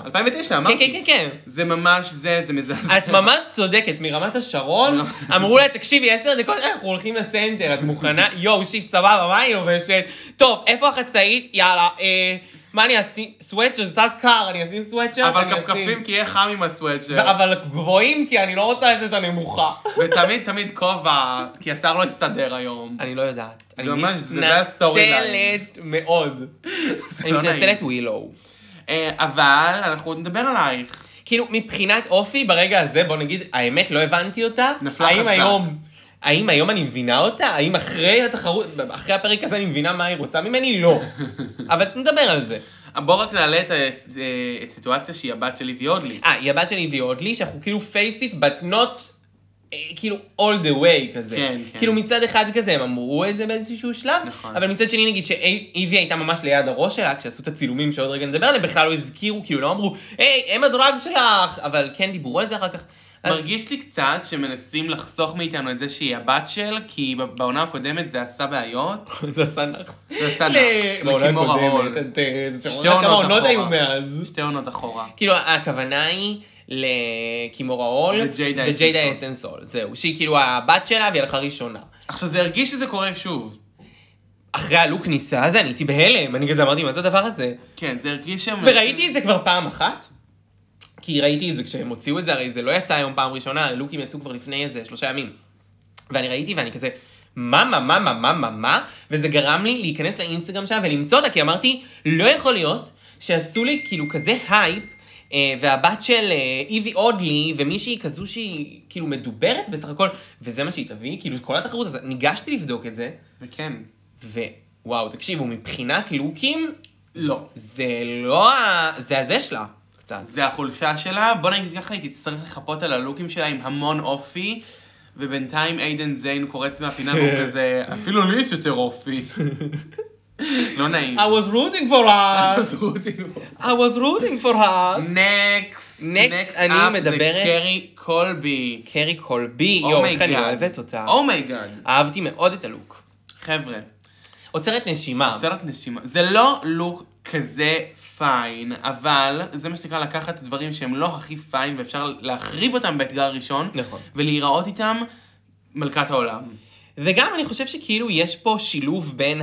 Speaker 3: 2009,
Speaker 2: כן, כן,
Speaker 3: אמרתי.
Speaker 2: כן, כן.
Speaker 3: זה ממש זה, זה מזעזע.
Speaker 2: את ממש צודקת, מרמת השרון,
Speaker 3: לא.
Speaker 2: אמרו לה, תקשיבי, עשר דקות, אה, אנחנו הולכים לסנטר, את מוכנה? יואו, שיט, סבבה, מה היא לובשת? טוב, איפה החצאית? יאללה, אה, מה אני אשים? סוואצ'ר, קצת קר, אני אשים סוואצ'ר?
Speaker 3: אבל
Speaker 2: אני אשים-
Speaker 3: כפכפים כי יהיה חם עם
Speaker 2: ו-
Speaker 3: הסוואצ'ר.
Speaker 2: אבל גבוהים, כי אני לא רוצה לצאת הנמוכה.
Speaker 3: ותמיד תמיד כובע, כי השר לא הסתדר היום.
Speaker 2: אני לא יודעת.
Speaker 3: זה ממש- זה- זה הסטורי
Speaker 2: אני
Speaker 3: ליין.
Speaker 2: מתנצלת מאוד.
Speaker 3: זה
Speaker 2: אני
Speaker 3: לא נעים.
Speaker 2: מתנצלת ווילו.
Speaker 3: אה, אבל אנחנו עוד נדבר עלייך.
Speaker 2: כאילו, מבחינת אופי, ברגע הזה, בוא נגיד, האמת, לא הבנתי אותה.
Speaker 3: נפלה
Speaker 2: האם
Speaker 3: חזק.
Speaker 2: היום, האם היום אני מבינה אותה? האם אחרי התחרות, אחרי הפרק הזה אני מבינה מה היא רוצה ממני? לא. אבל נדבר על זה.
Speaker 3: אה, בוא רק נעלה את הסיטואציה שהיא הבת שלי ויודלי.
Speaker 2: אה, היא הבת שלי והיא עוד לי, שאנחנו כאילו פייסית, but not, אה, כאילו, all the way כזה.
Speaker 3: כן, כן.
Speaker 2: כאילו, מצד אחד כזה, הם אמרו את זה באיזשהו שלב,
Speaker 3: נכון.
Speaker 2: אבל מצד שני, נגיד, שאיבי הייתה ממש ליד הראש שלה, כשעשו את הצילומים שעוד רגע נדבר עליהם, בכלל לא הזכירו, כאילו, לא אמרו, היי, הם הדרג שלך, אבל כן דיברו על זה אחר כך. אז-
Speaker 3: מרגיש לי קצת שמנסים לחסוך מאיתנו את זה שהיא הבת של, כי ב- בעונה הקודמת זה עשה בעיות.
Speaker 2: זה עשה נאחס.
Speaker 3: זה עשה נאחס,
Speaker 2: ל- אה, בעונה
Speaker 3: מקימור
Speaker 2: הקודמת,
Speaker 3: ההול.
Speaker 2: את, אה, זה
Speaker 3: שתי
Speaker 2: שעונה כמה
Speaker 3: עונות
Speaker 2: עונות היו
Speaker 3: אחורה.
Speaker 2: מאז.
Speaker 3: שתי עונות אחורה.
Speaker 2: כאילו, הכוונה היא לקימורה אול
Speaker 3: וג'יידה
Speaker 2: וג'יידה
Speaker 3: אסנסול.
Speaker 2: אסנסול, זהו. שהיא כאילו הבת שלה והיא הלכה ראשונה.
Speaker 3: עכשיו, זה הרגיש שזה קורה שוב.
Speaker 2: אחרי הלוק ניסה הזה, אני הייתי בהלם, אני כזה אמרתי, מה זה הדבר הזה?
Speaker 3: כן, זה הרגיש שהם...
Speaker 2: וראיתי את זה כבר פעם אחת, כי ראיתי את זה כשהם הוציאו את זה, הרי זה לא יצא היום פעם ראשונה, הרי לוקים יצאו כבר לפני איזה שלושה ימים. ואני ראיתי ואני כזה, מה, מה, מה, מה, מה, מה, מה, וזה גרם לי להיכנס לאינסטגרם שלה ולמצוא אותה, כי אמרתי, לא יכול להיות שעשו לי כאילו כזה הייפ. אה, והבת של אה, איבי אודלי, ומישהי כזו שהיא כאילו מדוברת בסך הכל, וזה מה שהיא תביא, כאילו כל התחרות הזאת, ניגשתי לבדוק את זה,
Speaker 3: וכן.
Speaker 2: ווואו, תקשיבו, מבחינת לוקים,
Speaker 3: לא.
Speaker 2: זה לא ה... זה הזה שלה, קצת.
Speaker 3: זה החולשה שלה. בוא נגיד ככה, היא תצטרך לחפות על הלוקים שלה עם המון אופי, ובינתיים איידן זיין קורץ מהפינה והוא כזה, אפילו לי יש יותר אופי. לא נעים.
Speaker 2: I was rooting for us! I was rooting for us!
Speaker 3: נקסט,
Speaker 2: Next, אני מדברת-
Speaker 3: זה קרי קולבי.
Speaker 2: קרי קולבי,
Speaker 3: Oh
Speaker 2: יואו, איך אני אוהבת אותה.
Speaker 3: אומייגאד.
Speaker 2: אהבתי מאוד את הלוק.
Speaker 3: Oh חבר'ה,
Speaker 2: עוצרת נשימה.
Speaker 3: סרט נשימה. זה לא לוק כזה פיין, אבל זה מה שנקרא לקחת דברים שהם לא הכי פיין, ואפשר להחריב אותם באתגר הראשון,
Speaker 2: נכון. Mm.
Speaker 3: ולהיראות איתם מלכת העולם.
Speaker 2: וגם אני חושב שכאילו יש פה אה, שילוב בין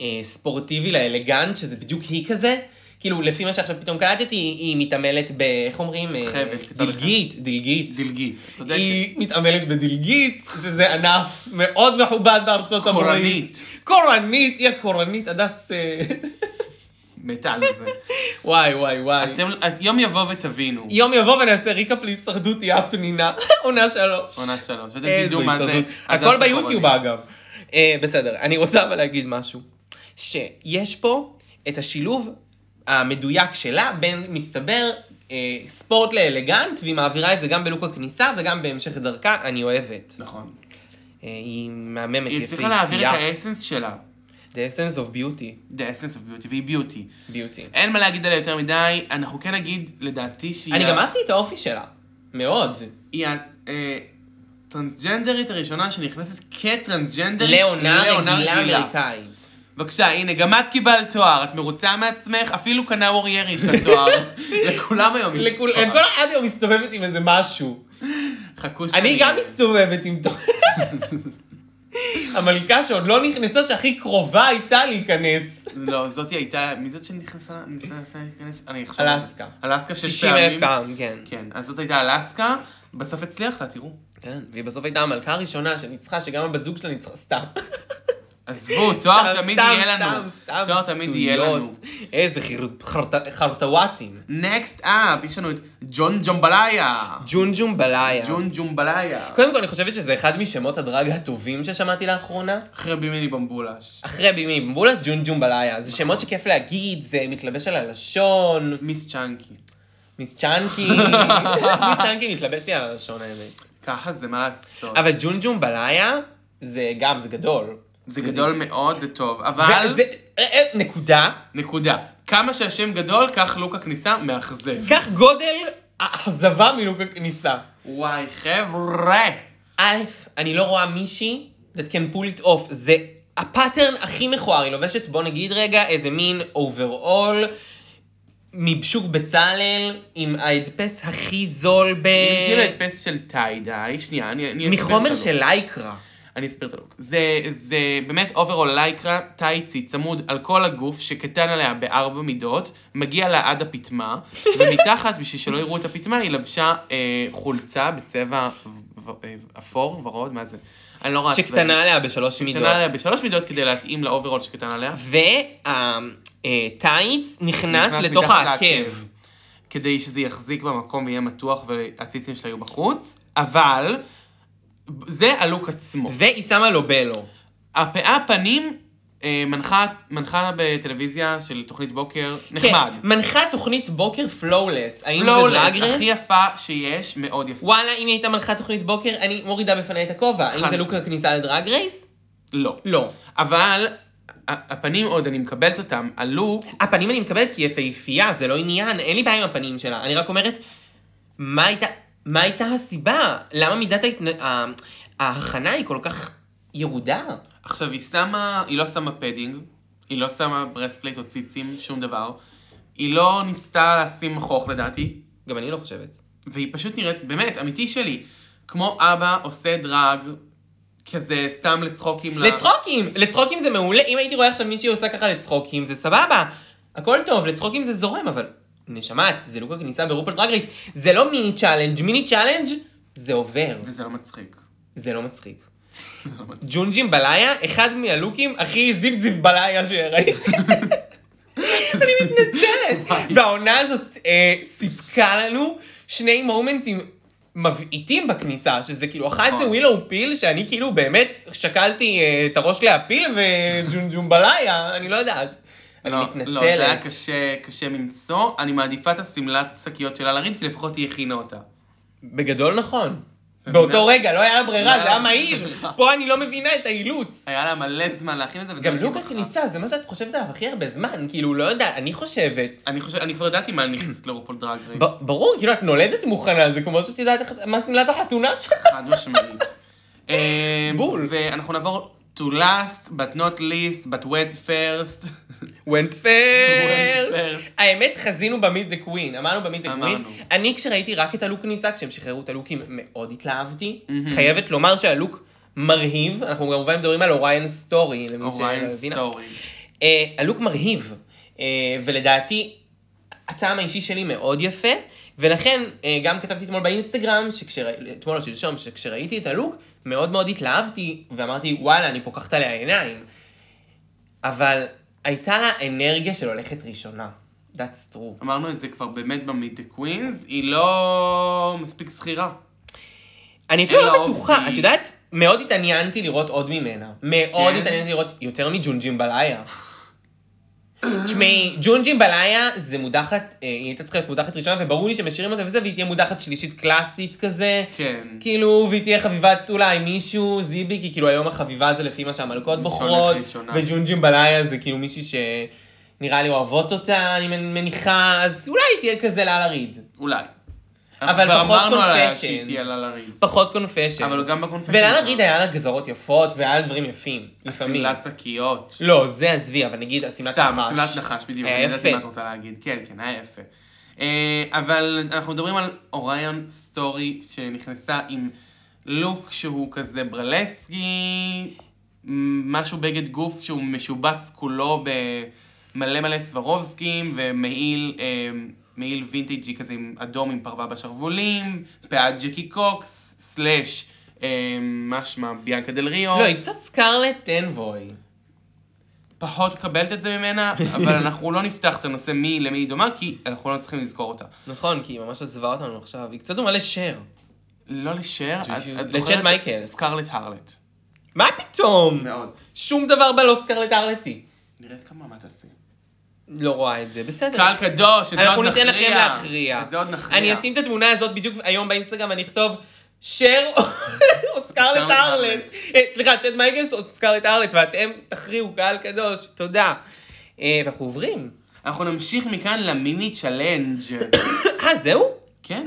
Speaker 2: הספורטיבי לאלגנט, שזה בדיוק היא כזה. כאילו, לפי מה שעכשיו פתאום קלטתי, היא מתעמלת ב... איך אומרים? אה,
Speaker 3: חבל, קפיצה
Speaker 2: דלגית, דלגית.
Speaker 3: דלגית, את צודקת.
Speaker 2: היא מתעמלת בדלגית, שזה ענף מאוד מכובד בארצות הברית.
Speaker 3: קורנית.
Speaker 2: קורנית, היא הקורנית, הדס... אה,
Speaker 3: מתה על זה.
Speaker 2: וואי, וואי, וואי.
Speaker 3: אתם, יום יבוא ותבינו.
Speaker 2: יום יבוא ונעשה ריקאפ להישרדות היא הפנינה, עונה שלוש.
Speaker 3: עונה שלוש, ואתם
Speaker 2: איזו
Speaker 3: תדעו מה זה.
Speaker 2: הישרדות.
Speaker 3: הדס
Speaker 2: הכל ביוטיוב
Speaker 3: הקורנית.
Speaker 2: אגב. אה, בסדר, אני רוצה אבל להגיד משהו. שיש פה את השילוב המדויק שלה בין מסתבר אה, ספורט לאלגנט, והיא מעבירה את זה גם בלוק הכניסה וגם בהמשך דרכה, אני אוהבת.
Speaker 3: נכון.
Speaker 2: אה, היא מהממת,
Speaker 3: היא הצליחה להעביר את האסנס שלה.
Speaker 2: The essence of beauty.
Speaker 3: The essence of beauty, והיא ביוטי.
Speaker 2: beauty.
Speaker 3: אין מה להגיד עליה יותר מדי, אנחנו כן נגיד, לדעתי שהיא...
Speaker 2: אני
Speaker 3: ה-
Speaker 2: גם אהבתי את האופי שלה. מאוד.
Speaker 3: היא הטרנסג'נדרית הראשונה שנכנסת כטרנסג'נדרית.
Speaker 2: לעונה רגילה אמריקאית.
Speaker 3: בבקשה, הנה, גם את קיבלת תואר, את מרוצה מעצמך, אפילו קנה ווריירי יש לה תואר. לכולם היום יש
Speaker 2: לכול-
Speaker 3: תואר.
Speaker 2: כל אחד היום מסתובבת עם איזה משהו.
Speaker 3: חכו שאני...
Speaker 2: אני גם מסתובבת עם תואר. המלכה שעוד לא נכנסה, שהכי קרובה הייתה להיכנס.
Speaker 3: לא, זאתי הייתה... מי זאת שנכנסה? ניסה להיכנס? אני עכשיו...
Speaker 2: אלסקה.
Speaker 3: אלסקה שש
Speaker 2: 60
Speaker 3: פעמים.
Speaker 2: אלף פעם, כן.
Speaker 3: כן, אז זאת הייתה אלסקה, בסוף הצליח לה, תראו.
Speaker 2: כן, והיא בסוף הייתה המלכה הראשונה שניצחה, שגם הבת זוג שלה ניצחה סתם.
Speaker 3: עזבו, תואר
Speaker 2: סתם,
Speaker 3: תמיד
Speaker 2: סתם,
Speaker 3: יהיה לנו.
Speaker 2: סתם, סתם,
Speaker 3: תואר תמיד יהיה
Speaker 2: שטויות.
Speaker 3: לנו.
Speaker 2: איזה חיר- חרט- חרטוואטים.
Speaker 3: נקסט אפ, יש לנו את ג'ון ג'ומבליה.
Speaker 2: ג'ונג'ום בלאיה.
Speaker 3: ג'ון ג'ומבליה.
Speaker 2: קודם כל, אני חושבת שזה אחד משמות הדרג הטובים ששמעתי לאחרונה.
Speaker 3: אחרי בימיני במבולש.
Speaker 2: אחרי בימי מבולש, ג'ונג'ום בלאיה. זה שמות שכיף להגיד, זה מתלבש על הלשון.
Speaker 3: מיס צ'אנקי.
Speaker 2: מיס צ'אנקי, מיס צ'אנקי מתלבש לי על הלשון האמת.
Speaker 3: ככה זה, מה לעשות.
Speaker 2: אבל ג'ונג'ום בלאיה, זה גם, זה גדול.
Speaker 3: זה גדול מאוד, זה טוב, אבל...
Speaker 2: וזה, אה, אה, נקודה,
Speaker 3: נקודה. כמה שהשם גדול, כך לוק הכניסה מאכזב.
Speaker 2: כך גודל האכזבה מלוק הכניסה.
Speaker 3: וואי, חבר'ה.
Speaker 2: א', אני לא רואה מישהי that can pull it off, זה הפאטרן הכי מכוער, היא לובשת, בוא נגיד רגע, איזה מין אוברול. מבשוק בצלאל, עם ההדפס הכי זול ב...
Speaker 3: עם כאילו הדפס של טיידיי, שנייה, אני... אני אסביר את
Speaker 2: אה, מחומר
Speaker 3: הלוק.
Speaker 2: של לייקרה.
Speaker 3: אני אסביר את הלוק. זה, זה באמת אוברול לייקרה טייצי צמוד על כל הגוף שקטן עליה בארבע מידות, מגיע לה עד הפטמה, ומתחת, בשביל שלא יראו את הפטמה, היא לבשה אה, חולצה בצבע ו- ו- אה, אפור, ורוד, מה זה? אני לא רואה... צבעים.
Speaker 2: שקטנה עליה בשלוש מידות.
Speaker 3: קטנה עליה בשלוש מידות כדי להתאים לאוברול שקטן עליה.
Speaker 2: והטייץ אה, נכנס
Speaker 3: נכנס
Speaker 2: לתוך
Speaker 3: מתחת
Speaker 2: העקב.
Speaker 3: כדי שזה יחזיק במקום ויהיה מתוח והציצים שלה יהיו בחוץ, אבל זה הלוק עצמו.
Speaker 2: והיא שמה לו בלו.
Speaker 3: הפאה פנים אה, מנחה, מנחה בטלוויזיה של תוכנית בוקר, נחמד.
Speaker 2: כן, מנחה תוכנית בוקר פלואולס. האם זה
Speaker 3: פלואולס,
Speaker 2: דרגרס?
Speaker 3: הכי יפה שיש, מאוד יפה.
Speaker 2: וואלה, אם היא הייתה מנחה תוכנית בוקר, אני מורידה בפניי את הכובע. האם
Speaker 3: חד
Speaker 2: זה לוק
Speaker 3: משמעית.
Speaker 2: הכניסה לדרג רייס?
Speaker 3: לא.
Speaker 2: לא.
Speaker 3: אבל ה- הפנים עוד, אני מקבלת אותם, הלוק,
Speaker 2: הפנים אני מקבלת כי היא יפהפייה, זה לא עניין, אין לי בעיה עם הפנים שלה. אני רק אומרת, מה הייתה, מה הייתה הסיבה? למה מידת ההתנ... ה- ההכנה היא כל כך ירודה?
Speaker 3: עכשיו היא שמה, היא לא שמה פדינג, היא לא שמה ברספלייט או ציצים, שום דבר. היא לא ניסתה לשים מכוך לדעתי,
Speaker 2: גם אני לא חושבת.
Speaker 3: והיא פשוט נראית, באמת, אמיתי שלי, כמו אבא עושה דרג, כזה סתם לצחוקים. ל-
Speaker 2: לצחוקים! לצחוקים זה מעולה. אם הייתי רואה עכשיו מישהי עושה ככה לצחוקים, זה סבבה. הכל טוב, לצחוקים זה זורם, אבל... נשמה, זה לוק הכניסה ברופל דרג רייס. זה לא מיני צ'אלנג', מיני צ'אלנג' זה עובר.
Speaker 3: וזה לא מצחיק.
Speaker 2: זה לא מצחיק.
Speaker 3: זה לא מצחיק.
Speaker 2: ג'ונג'ים בלאיה, אחד מהלוקים הכי זיפ זיפ בלאיה שראיתי. אני מתנצלת. והעונה הזאת אה, סיפקה לנו שני מומנטים מבעיטים בכניסה, שזה כאילו, אחת זה
Speaker 3: נכון.
Speaker 2: ווילאו פיל, שאני כאילו באמת שקלתי אה, את הראש להפיל, וג'ונג'ום בלאיה, אני לא יודעת. אני
Speaker 3: לא, לא, זה היה
Speaker 2: מתנצלת.
Speaker 3: קשה, קשה מנשוא. אני מעדיפה את השמלת שקיות שלה לריד, כי לפחות היא הכינה אותה.
Speaker 2: בגדול נכון.
Speaker 3: מבינה?
Speaker 2: באותו רגע, לא היה לה ברירה, זה
Speaker 3: לא היה
Speaker 2: היה
Speaker 3: לה
Speaker 2: מהיר.
Speaker 3: ברירה.
Speaker 2: פה אני לא מבינה את האילוץ.
Speaker 3: היה לה מלא זמן להכין את זה, וזה
Speaker 2: גם
Speaker 3: מה שהיא
Speaker 2: לוק
Speaker 3: בחרה.
Speaker 2: הכניסה, זה מה שאת חושבת עליו הכי הרבה זמן, כאילו, לא יודעת, אני חושבת.
Speaker 3: אני חושב, אני כבר ידעתי מה אני נכנסת לרופול דרג רייס,
Speaker 2: ב- ברור, כאילו, את נולדת מוכנה, זה כמו שאת יודעת איך- מה שמלת החתונה שלך.
Speaker 3: חד משמעית. אמ,
Speaker 2: בול.
Speaker 3: ואנחנו נעבור to last, but not least, but wet first.
Speaker 2: went
Speaker 3: Went
Speaker 2: first.
Speaker 3: first.
Speaker 2: האמת, חזינו במיד דה קווין, אמרנו במיד דה קווין.
Speaker 3: אמרנו.
Speaker 2: אני, כשראיתי רק את הלוק כניסה, כשהם שחררו את הלוקים, מאוד התלהבתי. חייבת לומר שהלוק מרהיב, אנחנו כמובן מדברים על אוריין סטורי, למי שלא
Speaker 3: אוריין
Speaker 2: הבינה.
Speaker 3: סטורי.
Speaker 2: אה, הלוק מרהיב, אה, ולדעתי הטעם האישי שלי מאוד יפה, ולכן אה, גם כתבתי אתמול באינסטגרם, שכשרא... אתמול או שלשום, שכשראיתי את הלוק, מאוד מאוד התלהבתי, ואמרתי, וואלה, אני פוקחת עליה עיניים. אבל הייתה לה אנרגיה של הולכת ראשונה. That's true.
Speaker 3: אמרנו את זה כבר באמת במיט קווינס, היא לא מספיק שכירה.
Speaker 2: אני אפילו
Speaker 3: אין לה
Speaker 2: לא
Speaker 3: אופי.
Speaker 2: בטוחה, את יודעת, מאוד התעניינתי לראות עוד ממנה. מאוד
Speaker 3: כן?
Speaker 2: התעניינתי לראות יותר מג'ונג'ימבלאיה. תשמעי, ג'ונג'ימבלאיה זה מודחת, אה, היא הייתה צריכה להיות מודחת ראשונה, וברור לי שמשאירים אותה וזה, והיא תהיה מודחת שלישית קלאסית כזה.
Speaker 3: כן.
Speaker 2: כאילו, והיא תהיה חביבת אולי מישהו, זיבי, כי כאילו היום החביבה זה לפי מה שהמלכות
Speaker 3: ראשונה,
Speaker 2: בוחרות,
Speaker 3: ראשונה.
Speaker 2: וג'ונג'ימבלאיה זה כאילו מישהי שנראה לי אוהבות אותה, אני מניחה, אז אולי היא תהיה כזה לאלה ריד.
Speaker 3: אולי.
Speaker 2: אבל
Speaker 3: כבר
Speaker 2: פחות
Speaker 3: אמרנו עליה
Speaker 2: confessions.
Speaker 3: שהיא תהיה לה לריב.
Speaker 2: פחות קונפשן.
Speaker 3: אבל גם ב-confessions.
Speaker 2: ולאלה ריד היה לה גזרות יפות, והיה לה דברים יפים, לפעמים.
Speaker 3: השמלת שקיות.
Speaker 2: לא, זה עזבי, אבל נגיד השמלת נחש.
Speaker 3: סתם, שמלת נחש, בדיוק.
Speaker 2: היה
Speaker 3: אני ידעתי
Speaker 2: יפה.
Speaker 3: מה את רוצה להגיד. כן, כן, היה יפה. אה, אבל אנחנו מדברים על אוריון סטורי שנכנסה עם לוק שהוא כזה ברלסקי, מ- משהו בגד גוף שהוא משובץ כולו במלא מלא סברובסקים ומעיל אה, מעיל וינטג'י כזה עם אדום עם פרווה בשרוולים, פאת ג'קי קוקס, סלאש, אה, מה שמה, ביאנקה דל ריו.
Speaker 2: לא, היא קצת סקרלט טנבוי.
Speaker 3: פחות מקבלת את זה ממנה, אבל אנחנו לא נפתח את הנושא מי למי היא דומה, כי אנחנו לא צריכים לזכור אותה.
Speaker 2: נכון, כי היא ממש עזבה אותנו עכשיו. היא קצת דומה לשר.
Speaker 3: לא לשר, את-
Speaker 2: ג'י-
Speaker 3: את
Speaker 2: לצ'אט
Speaker 3: זוכרת?
Speaker 2: מייקלס.
Speaker 3: סקרלט הרלט.
Speaker 2: מה פתאום?
Speaker 3: מאוד.
Speaker 2: שום דבר בה לא סקרלט ארלטי.
Speaker 3: נראית כמה מה תעשי.
Speaker 2: לא רואה את זה, בסדר.
Speaker 3: קהל קדוש, את זה
Speaker 2: אנחנו
Speaker 3: עוד נכריע.
Speaker 2: ניתן לכם להכריע.
Speaker 3: את זה עוד נכריע.
Speaker 2: אני אשים את התמונה הזאת בדיוק היום באינסטגרם, אני אכתוב שר או סקרלט
Speaker 3: סקרלט
Speaker 2: ארלט.
Speaker 3: ארלט.
Speaker 2: אה, סליחה, צ'אט מייקלס או סקרלט ארלט, ואתם תכריעו, קהל קדוש, תודה. אה, ואנחנו עוברים.
Speaker 3: אנחנו נמשיך מכאן למיני צ'לנג'.
Speaker 2: אה, זהו?
Speaker 3: כן.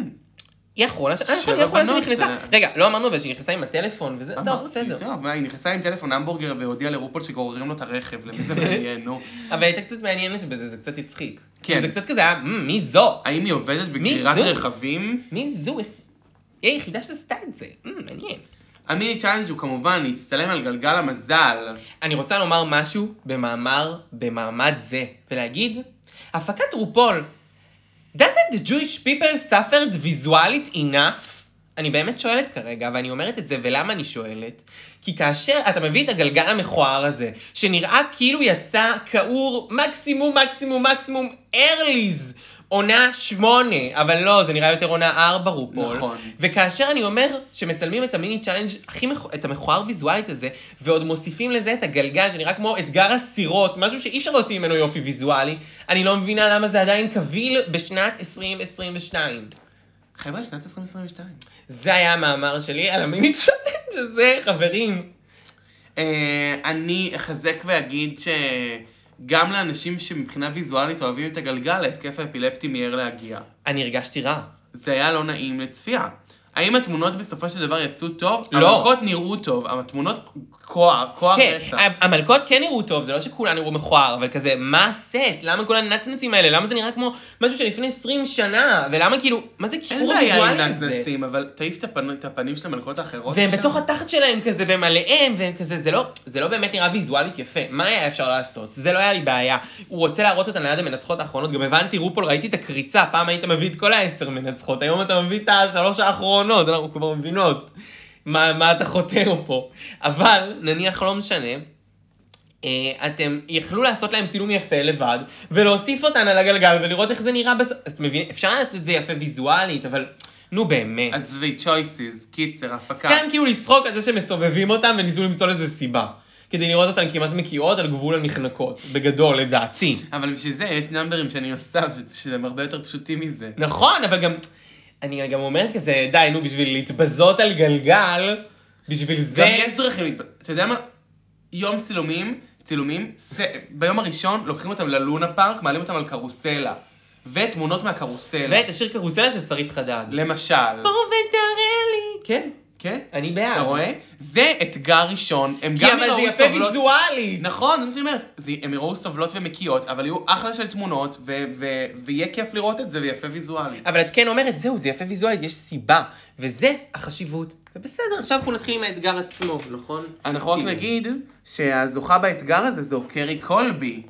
Speaker 2: היא האחרונה ש- אה, נכון,
Speaker 3: שבע
Speaker 2: היא האחרונה
Speaker 3: בנות,
Speaker 2: שנכנסה.
Speaker 3: אה.
Speaker 2: רגע, לא אמרנו אבל שהיא נכנסה עם הטלפון וזה, טוב,
Speaker 3: אמרתי,
Speaker 2: בסדר.
Speaker 3: טוב, מה, היא נכנסה עם טלפון המבורגר והודיעה לרופול שגוררים לו את הרכב, למי זה מעניין, נו.
Speaker 2: אבל הייתה קצת מעניינת בזה, זה קצת הצחיק.
Speaker 3: כן.
Speaker 2: זה קצת כזה היה, "מ, מי זאת?
Speaker 3: האם היא עובדת בגרירת
Speaker 2: זו?
Speaker 3: רכבים?
Speaker 2: מי זו? היא היחידה שעשתה את זה. מ, מעניין.
Speaker 3: המיני צ'אלנג' הוא כמובן להצטלם על גלגל המזל.
Speaker 2: אני רוצה לומר משהו במאמר, במעמד זה, ולהגיד, הפקת רופול, doesn't the Jewish people suffered visualית enough? אני באמת שואלת כרגע, ואני אומרת את זה, ולמה אני שואלת? כי כאשר אתה מביא את הגלגל המכוער הזה, שנראה כאילו יצא כעור מקסימום, מקסימום, מקסימום, ארליז, עונה שמונה, אבל לא, זה נראה יותר עונה ארבע רופול.
Speaker 3: נכון.
Speaker 2: וכאשר אני אומר שמצלמים את המיני צ'אלנג' הכי מכ... את המכוער ויזואלית הזה, ועוד מוסיפים לזה את הגלגל שנראה כמו אתגר הסירות, משהו שאי אפשר להוציא ממנו יופי ויזואלי, אני לא מבינה למה זה עדיין קביל בשנת 2022.
Speaker 3: חבר'ה, שנת 2022.
Speaker 2: זה היה המאמר שלי על המיני צ'אלנג' הזה, חברים.
Speaker 3: אה, אני אחזק ואגיד שגם לאנשים שמבחינה ויזואלית אוהבים את הגלגל, ההתקף האפילפטי מיהר להגיע.
Speaker 2: אני הרגשתי רע.
Speaker 3: זה היה לא נעים לצפייה. האם התמונות בסופו של דבר יצאו טוב?
Speaker 2: לא.
Speaker 3: המלכות נראו טוב, אבל התמונות כוח, כוח
Speaker 2: כן,
Speaker 3: רצח.
Speaker 2: ה- המלכות כן נראו טוב, זה לא שכולן נראו מכוער, אבל כזה, מה הסט? למה כל הנצנצים האלה? למה זה נראה כמו משהו שלפני 20 שנה? ולמה כאילו, מה זה
Speaker 3: אין
Speaker 2: קירור
Speaker 3: בעיה עם
Speaker 2: ויזואלי הזה?
Speaker 3: נצנצים, אבל תעיף את הפנ- את הפנים של המלכות האחרות.
Speaker 2: והם
Speaker 3: שם.
Speaker 2: בתוך התחת שלהם כזה, והם עליהם, והם כזה, זה לא, זה לא באמת נראה ויזואלית יפה. מה היה אפשר לעשות? זה לא היה לי בעיה. הוא רוצה להראות אותן ליד המנצחות האחרונות, גם הבנתי, רופול, ראיתי את הקריצה, פעם היית מביא את כל העשר מנצחות, היום אתה מביא את השלוש האחרונות, אנחנו כבר מבינות. מה, מה אתה חותר פה. אבל, נניח לא משנה, אה, אתם יכלו לעשות להם צילום יפה לבד, ולהוסיף אותן על הגלגל ולראות איך זה נראה בס... את מבין, אפשר לעשות את זה יפה ויזואלית, אבל... נו באמת.
Speaker 3: עזבי, choices, קיצר, הפקה.
Speaker 2: סתם כאילו לצחוק על זה שמסובבים אותם וניסו למצוא לזה סיבה. כדי לראות אותן כמעט מקיאות על גבול הנחנקות. בגדול, לדעתי.
Speaker 3: אבל בשביל זה יש נאמברים שאני עושה, ש- שהם הרבה יותר פשוטים מזה.
Speaker 2: נכון, אבל גם... אני גם אומרת כזה, די, נו, בשביל להתבזות על גלגל, בשביל
Speaker 3: גם
Speaker 2: זה...
Speaker 3: יש דרכים להתפ... אתה יודע מה? יום צילומים, צילומים, ס... ביום הראשון לוקחים אותם ללונה פארק, מעלים אותם על קרוסלה. ותמונות מהקרוסלה.
Speaker 2: ואת השיר קרוסלה של שרית חדד.
Speaker 3: למשל.
Speaker 2: בוא ותראה לי. כן,
Speaker 3: כן?
Speaker 2: אני בעד.
Speaker 3: אתה רואה? זה אתגר ראשון. הם
Speaker 2: אה. כי
Speaker 3: גם
Speaker 2: אבל זה
Speaker 3: יראו
Speaker 2: יפה
Speaker 3: סובלות...
Speaker 2: ויזואלית.
Speaker 3: נכון, זה מה שאני אומרת. זה- הם יראו סובלות ומקיאות, אבל יהיו אחלה של תמונות, ו- ו- ויהיה כיף לראות את זה, ויפה ויזואלית.
Speaker 2: אבל את כן אומרת, זהו, זה יפה ויזואלית, יש סיבה. וזה החשיבות. ובסדר, עכשיו אנחנו נתחיל עם האתגר עצמו, נכון?
Speaker 3: אנחנו רק
Speaker 2: כאילו.
Speaker 3: נגיד שהזוכה באתגר הזה זו קרי קולבי.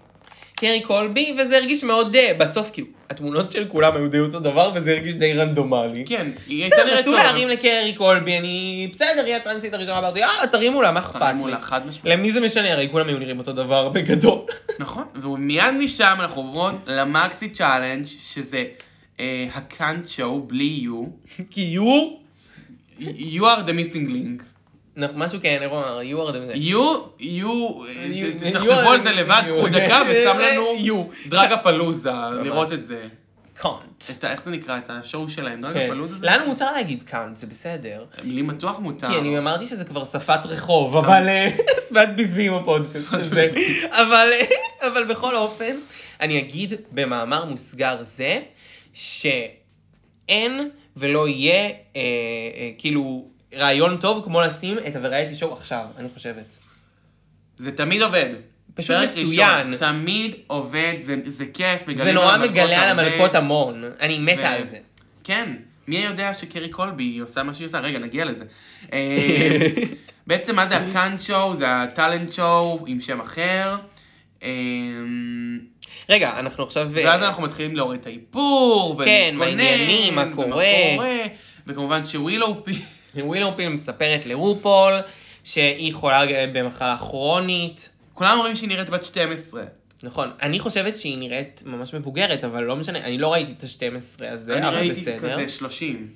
Speaker 2: קרי קולבי, וזה הרגיש מאוד, אה, בסוף כאילו, התמונות של כולם היו די אותו דבר, וזה הרגיש די רנדומלי.
Speaker 3: כן, היא הייתה
Speaker 2: בסדר,
Speaker 3: נראית
Speaker 2: רצו
Speaker 3: טוב.
Speaker 2: להרים לקרי קולבי, אני... בסדר, היא הטרנסית הראשונה, אמרתי, יאללה, תרימו לה, מה אכפת
Speaker 3: תרימו
Speaker 2: לי?
Speaker 3: לה, חד משמעית.
Speaker 2: למי זה משנה? הרי כולם היו נראים אותו דבר בגדול.
Speaker 3: נכון, ומיד משם אנחנו עוברות למקסי צ'אלנג' שזה אה, הקאנט שואו בלי you.
Speaker 2: כי יו...
Speaker 3: You are the missing link.
Speaker 2: נ- משהו כן, אירוע, אמר, יו ארדם זה.
Speaker 3: you, you, אה,
Speaker 2: You-
Speaker 3: ת- תחשבו על זה
Speaker 2: you are the
Speaker 3: לבד,
Speaker 2: missing
Speaker 3: קחו
Speaker 2: you.
Speaker 3: דקה ושם לנו
Speaker 2: You.
Speaker 3: דרגה פלוזה, לראות את זה.
Speaker 2: קאנט.
Speaker 3: את ה- איך זה נקרא? את השואו שלהם, דרגה
Speaker 2: כן.
Speaker 3: פלוזה? זה?
Speaker 2: לנו מותר להגיד קאנט, זה בסדר.
Speaker 3: לי מתוח מותר.
Speaker 2: כי אני אמרתי שזה כבר שפת רחוב, אבל... אה, שפת ביבים הפודקאסט
Speaker 3: שפת
Speaker 2: הזה. אבל, אה, אבל בכל אופן, אני אגיד במאמר מוסגר זה, שאין ולא יהיה אה, אה, כאילו רעיון טוב כמו לשים את הוורייטי שואו עכשיו, אני חושבת.
Speaker 3: זה תמיד עובד.
Speaker 2: פשוט
Speaker 3: פרק
Speaker 2: מצוין.
Speaker 3: ראשון, תמיד עובד, זה, זה כיף, מגלים
Speaker 2: זה נורא
Speaker 3: על המלכות
Speaker 2: מגלה על
Speaker 3: לא, הרבה.
Speaker 2: המלכות המון, אני מתה
Speaker 3: ו-
Speaker 2: על זה.
Speaker 3: כן, מי יודע שקרי קולבי היא עושה מה שהיא עושה? רגע, נגיע לזה. אה, בעצם מה זה הקאנט שואו? זה הטאלנט שואו עם שם אחר. אה,
Speaker 2: רגע, אנחנו עכשיו... אה,
Speaker 3: ואז אנחנו מתחילים להוריד את האיפור,
Speaker 2: כן, מה
Speaker 3: ולהתכונן,
Speaker 2: העניינים, מה
Speaker 3: ומה
Speaker 2: קורה.
Speaker 3: קורה. וכמובן שווילו פי...
Speaker 2: ווילו פיל מספרת לרופול שהיא חולה אה, במחלה כרונית.
Speaker 3: כולם אומרים שהיא נראית בת 12.
Speaker 2: נכון, אני חושבת שהיא נראית ממש מבוגרת, אבל לא משנה, אני לא ראיתי את ה-12 הזה,
Speaker 3: אני
Speaker 2: אה, אבל
Speaker 3: ראיתי
Speaker 2: בסדר.
Speaker 3: כזה 30.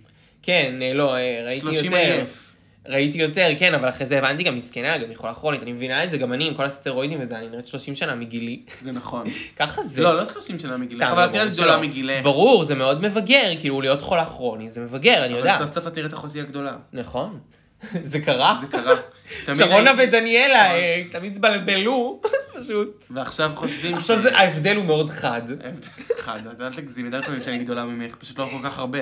Speaker 2: כן, אה, לא, אה, ראיתי
Speaker 3: 30
Speaker 2: יותר.
Speaker 3: אלף.
Speaker 2: ראיתי יותר, כן, אבל אחרי זה הבנתי גם מסכנה, גם היא חולה כרונית, אני מבינה את זה, גם אני עם כל הסטרואידים וזה, אני נראית 30 שנה מגילי.
Speaker 3: זה נכון.
Speaker 2: ככה זה.
Speaker 3: לא, לא 30 שנה מגילך,
Speaker 2: סתם,
Speaker 3: אבל
Speaker 2: לא,
Speaker 3: את נראית
Speaker 2: ברור
Speaker 3: גדולה
Speaker 2: שלא.
Speaker 3: מגילך.
Speaker 2: ברור, זה מאוד מבגר, כאילו להיות חולה כרוני זה מבגר, אני יודעת.
Speaker 3: אבל סוף סוף את נראית אחותי הגדולה.
Speaker 2: נכון. זה קרה.
Speaker 3: זה קרה. תמיד נכון.
Speaker 2: שרונה
Speaker 3: הייתי-
Speaker 2: ודניאלה אה, תמיד התבלבלו, פשוט.
Speaker 3: ועכשיו חושבים...
Speaker 2: עכשיו
Speaker 3: ש-
Speaker 2: זה- אה, ההבדל הוא מאוד חד.
Speaker 3: אחד, את אל תגזימי, די לפעמים שאני גדולה ממך, פשוט לא כל כך הרבה.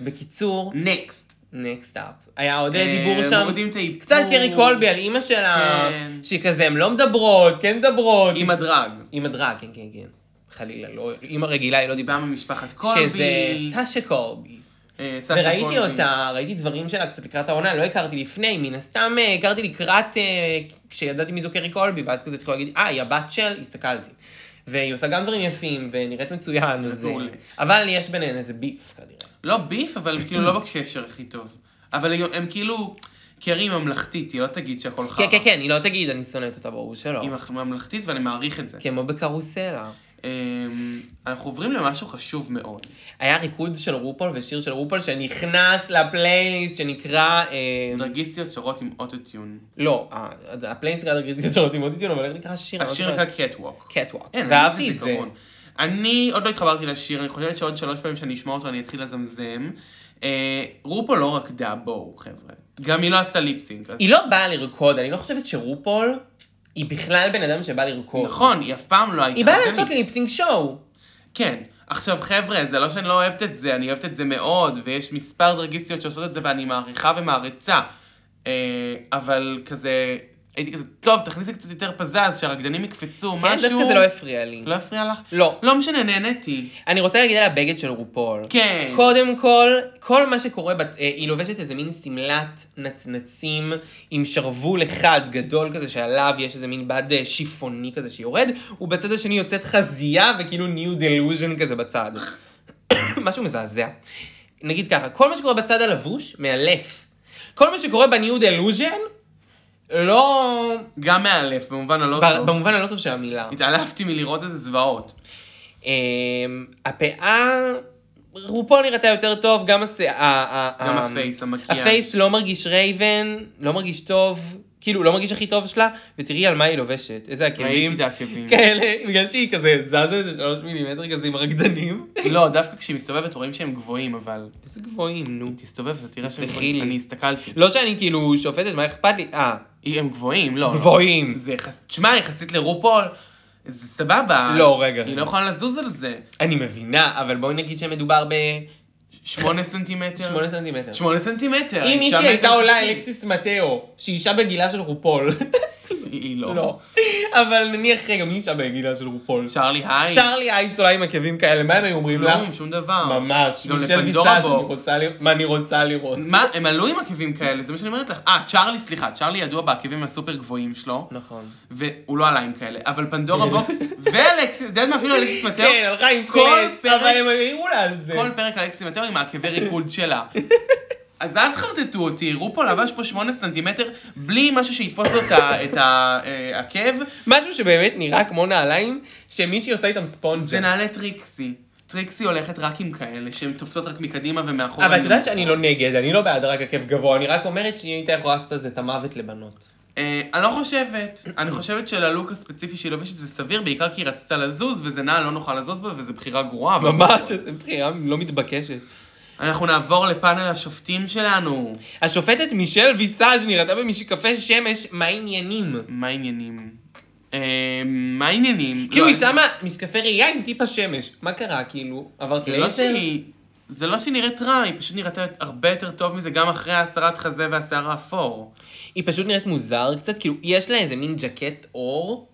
Speaker 2: בקיצור,
Speaker 3: נקסט.
Speaker 2: נקסט אפ. היה עוד
Speaker 3: אה,
Speaker 2: דיבור שם.
Speaker 3: מורידים את האיפור.
Speaker 2: קצת קרי קולבי על אימא שלה,
Speaker 3: כן.
Speaker 2: שהיא כזה, הן לא מדברות, כן מדברות.
Speaker 3: עם הדרג.
Speaker 2: אימא דרג, כן, כן, כן. חלילה, לא, אימא רגילה היא לא דיברה.
Speaker 3: באה ממשפחת
Speaker 2: שזה
Speaker 3: קולבי.
Speaker 2: סשה קולבי.
Speaker 3: אה, סשה
Speaker 2: וראיתי
Speaker 3: קולבי.
Speaker 2: אותה, ראיתי דברים שלה קצת לקראת העונה, לא הכרתי לפני, מן הסתם אה, הכרתי לקראת, אה, כשידעתי מי זו קרי קולבי, ואז כזה התחילו להגיד, אה, היא הבת של, הסתכלתי. והיא עושה גם דברים יפים, ונראית מצוין, אז... אה,
Speaker 3: מעולה.
Speaker 2: אבל יש ביניהן איזה ביף, כנראה.
Speaker 3: לא ביף, אבל כאילו לא בקשר הכי טוב. אבל הם- הם כאילו... קרי היא ממלכתית, היא לא תגיד שהכל חרא.
Speaker 2: כן, כן, כן, היא לא תגיד, אני שונאת אותה, ברור שלא.
Speaker 3: היא מח- ממלכתית ואני מעריך את זה.
Speaker 2: כמו בקרוסלה.
Speaker 3: אמ, אנחנו עוברים למשהו חשוב מאוד.
Speaker 2: היה ריקוד של רופול ושיר של רופול שנכנס לפלייליסט שנקרא... אה,
Speaker 3: דרגיסטיות שרות עם אוטוטיון.
Speaker 2: לא, אה, הפלייליסט נקרא דרגריזיה של אותי מודיטיון, אבל איך נקרא השיר?
Speaker 3: השיר נקרא קטווק.
Speaker 2: קטוואק.
Speaker 3: אין,
Speaker 2: ואהבתי
Speaker 3: אין
Speaker 2: את זה.
Speaker 3: זיכרון. אני עוד לא התחברתי לשיר, אני חושבת שעוד שלוש פעמים שאני אשמע אותו אני אתחיל לזמזם. אה, רופו לא רקדה, בואו חבר'ה. גם היא לא עשתה ליפסינק. אז-
Speaker 2: היא לא באה לרקוד, אני לא חושבת שרופול היא בכלל בן אדם שבא לרקוד.
Speaker 3: נכון, היא אף פעם לא הייתה.
Speaker 2: היא באה
Speaker 3: רקדנית.
Speaker 2: לעשות ליפסינג שואו.
Speaker 3: כן. עכשיו חבר'ה, זה לא שאני לא אוהבת את זה, אני אוהבת את זה מאוד, ויש מספר דרגיסטיות שעושות את זה ואני מעריכה ומעריצה. אה, אבל כזה, הייתי כזה, טוב, תכניסי קצת יותר פזז, שהרקדנים יקפצו,
Speaker 2: כן,
Speaker 3: משהו.
Speaker 2: דווקא זה לא הפריע לי.
Speaker 3: לא הפריע לך?
Speaker 2: לא.
Speaker 3: לא משנה, נהניתי.
Speaker 2: אני רוצה להגיד על הבגד של רופול.
Speaker 3: כן.
Speaker 2: קודם כל, כל מה שקורה, בת, אה, היא לובשת איזה מין שמלת נצנצים עם שרוול אחד גדול כזה, שעליו יש איזה מין בד אה, שיפוני כזה שיורד, ובצד השני יוצאת חזייה וכאילו ניו דלוז'ן כזה בצד. משהו מזעזע. נגיד ככה, כל מה שקורה בצד הלבוש, מאלף. כל מה שקורה בניו דלוז'ן, לא...
Speaker 3: גם מאלף, במובן הלא
Speaker 2: ב-
Speaker 3: לא טוב.
Speaker 2: במובן הלא טוב של המילה.
Speaker 3: התעלפתי מלראות איזה זוועות.
Speaker 2: אמ, הפאה, רופו נראתה יותר טוב, גם הסאה...
Speaker 3: גם הפייס, המקיאז'.
Speaker 2: אמ, הפייס לא מרגיש רייבן, לא מרגיש טוב, כאילו, לא מרגיש הכי טוב שלה, ותראי על מה היא לובשת, איזה
Speaker 3: ראיתי
Speaker 2: עקבים.
Speaker 3: את העקבים.
Speaker 2: כאלה, בגלל שהיא כזה זזה איזה שלוש מילימטר כזה עם רקדנים.
Speaker 3: לא, דווקא כשהיא מסתובבת רואים שהם גבוהים, אבל...
Speaker 2: איזה גבוהים, נו.
Speaker 3: היא תסתובב, אתה תראה שהם
Speaker 2: תסלחי
Speaker 3: גבוהים.
Speaker 2: לי.
Speaker 3: אני הסתכלתי.
Speaker 2: לא שאני כאילו שופטת, מה אכפת לי? אה,
Speaker 3: היא- הם גבוהים, לא. לא.
Speaker 2: גבוהים.
Speaker 3: זה יחס... תשמע, יחסית לרופול, זה סבבה.
Speaker 2: לא, רגע,
Speaker 3: היא
Speaker 2: רגע.
Speaker 3: לא יכולה לזוז על זה.
Speaker 2: אני מבינה, אבל בואי נגיד שמדובר ב-8
Speaker 3: שמונה סנטימטר.
Speaker 2: סנטימטר.
Speaker 3: שמונה סנטימטר.
Speaker 2: אם
Speaker 3: אישה
Speaker 2: מישהי הייתה
Speaker 3: מטר
Speaker 2: עולה
Speaker 3: תשעים.
Speaker 2: אלקסיס מטאו, שהיא אישה בגילה של רופול,
Speaker 3: היא
Speaker 2: לא.
Speaker 3: לא.
Speaker 2: אבל נניח רגע, מי נשאר בגילה של רופול?
Speaker 3: שרלי היי.
Speaker 2: שרלי הייץ עולה עם עקבים כאלה, מה הם היו אומרים לה?
Speaker 3: כלום, שום דבר.
Speaker 2: ממש,
Speaker 3: לא, גם
Speaker 2: מישל
Speaker 3: לפנדורה
Speaker 2: ויסאז' אני
Speaker 3: בוקס.
Speaker 2: רוצה לראות, מה אני רוצה לראות.
Speaker 3: מה, הם עלו עם עקבים כאלה, זה מה שאני אומרת לך. אה, צ'ארלי, סליחה, צ'ארלי ידוע בעקבים הסופר גבוהים שלו,
Speaker 2: נכון.
Speaker 3: והוא לא עלה עם כאלה, אבל פנדורה בוקס ואלכסיס, את יודעת מה, אפילו אלכסיס מטאו,
Speaker 2: כן, אוקיי. הלכה עם
Speaker 3: כל
Speaker 2: פלץ,
Speaker 3: פרק-
Speaker 2: אבל הם העירו לה על זה.
Speaker 3: כל פרק אלכסיס מטאו עם העקבי ריקוד שלה. אז אל תחרטטו אותי, רופו לבש פה 8 סנטימטר בלי משהו שיתפוס לו את ה- אה, את העקב,
Speaker 2: משהו שבאמת נראה כמו נעליים, שמישהי עושה איתם
Speaker 3: זה
Speaker 2: ספונג'ה.
Speaker 3: נעלי טריקסי. טריקסי הולכת רק עם כאלה, שהן תופסות רק מקדימה ומאחורה.
Speaker 2: אבל את יודעת שאני לא נגד, אני לא בעד רק עקב גבוה, אני רק אומרת שהיא הייתה יכולה לעשות על זה את המוות לבנות.
Speaker 3: אה, אני לא חושבת. אני חושבת שללוק הספציפי שהיא לובשת זה סביר, בעיקר כי היא רצתה לזוז, וזה נעל לא נוכל לזוז בה, וזו בחירה גרועה. אבל
Speaker 2: ממש,
Speaker 3: בכל זאת.
Speaker 2: איזה בחירה לא מתבקשת.
Speaker 3: אנחנו נעבור לפאנל השופטים שלנו.
Speaker 2: השופטת מישל ויסאז' נראתה במשקפי שמש, מה העניינים?
Speaker 3: מה העניינים? אה, מה העניינים?
Speaker 2: כאילו
Speaker 3: לא,
Speaker 2: היא שמה משקפי ראייה עם טיפ השמש, מה קרה כאילו? עברת
Speaker 3: זה לא
Speaker 2: לעשר?
Speaker 3: שהיא... זה לא שהיא נראית רע, היא פשוט נראית הרבה יותר טוב מזה גם אחרי הסרת חזה והשיער האפור.
Speaker 2: היא פשוט נראית מוזר קצת, כאילו יש לה איזה מין ג'קט אור,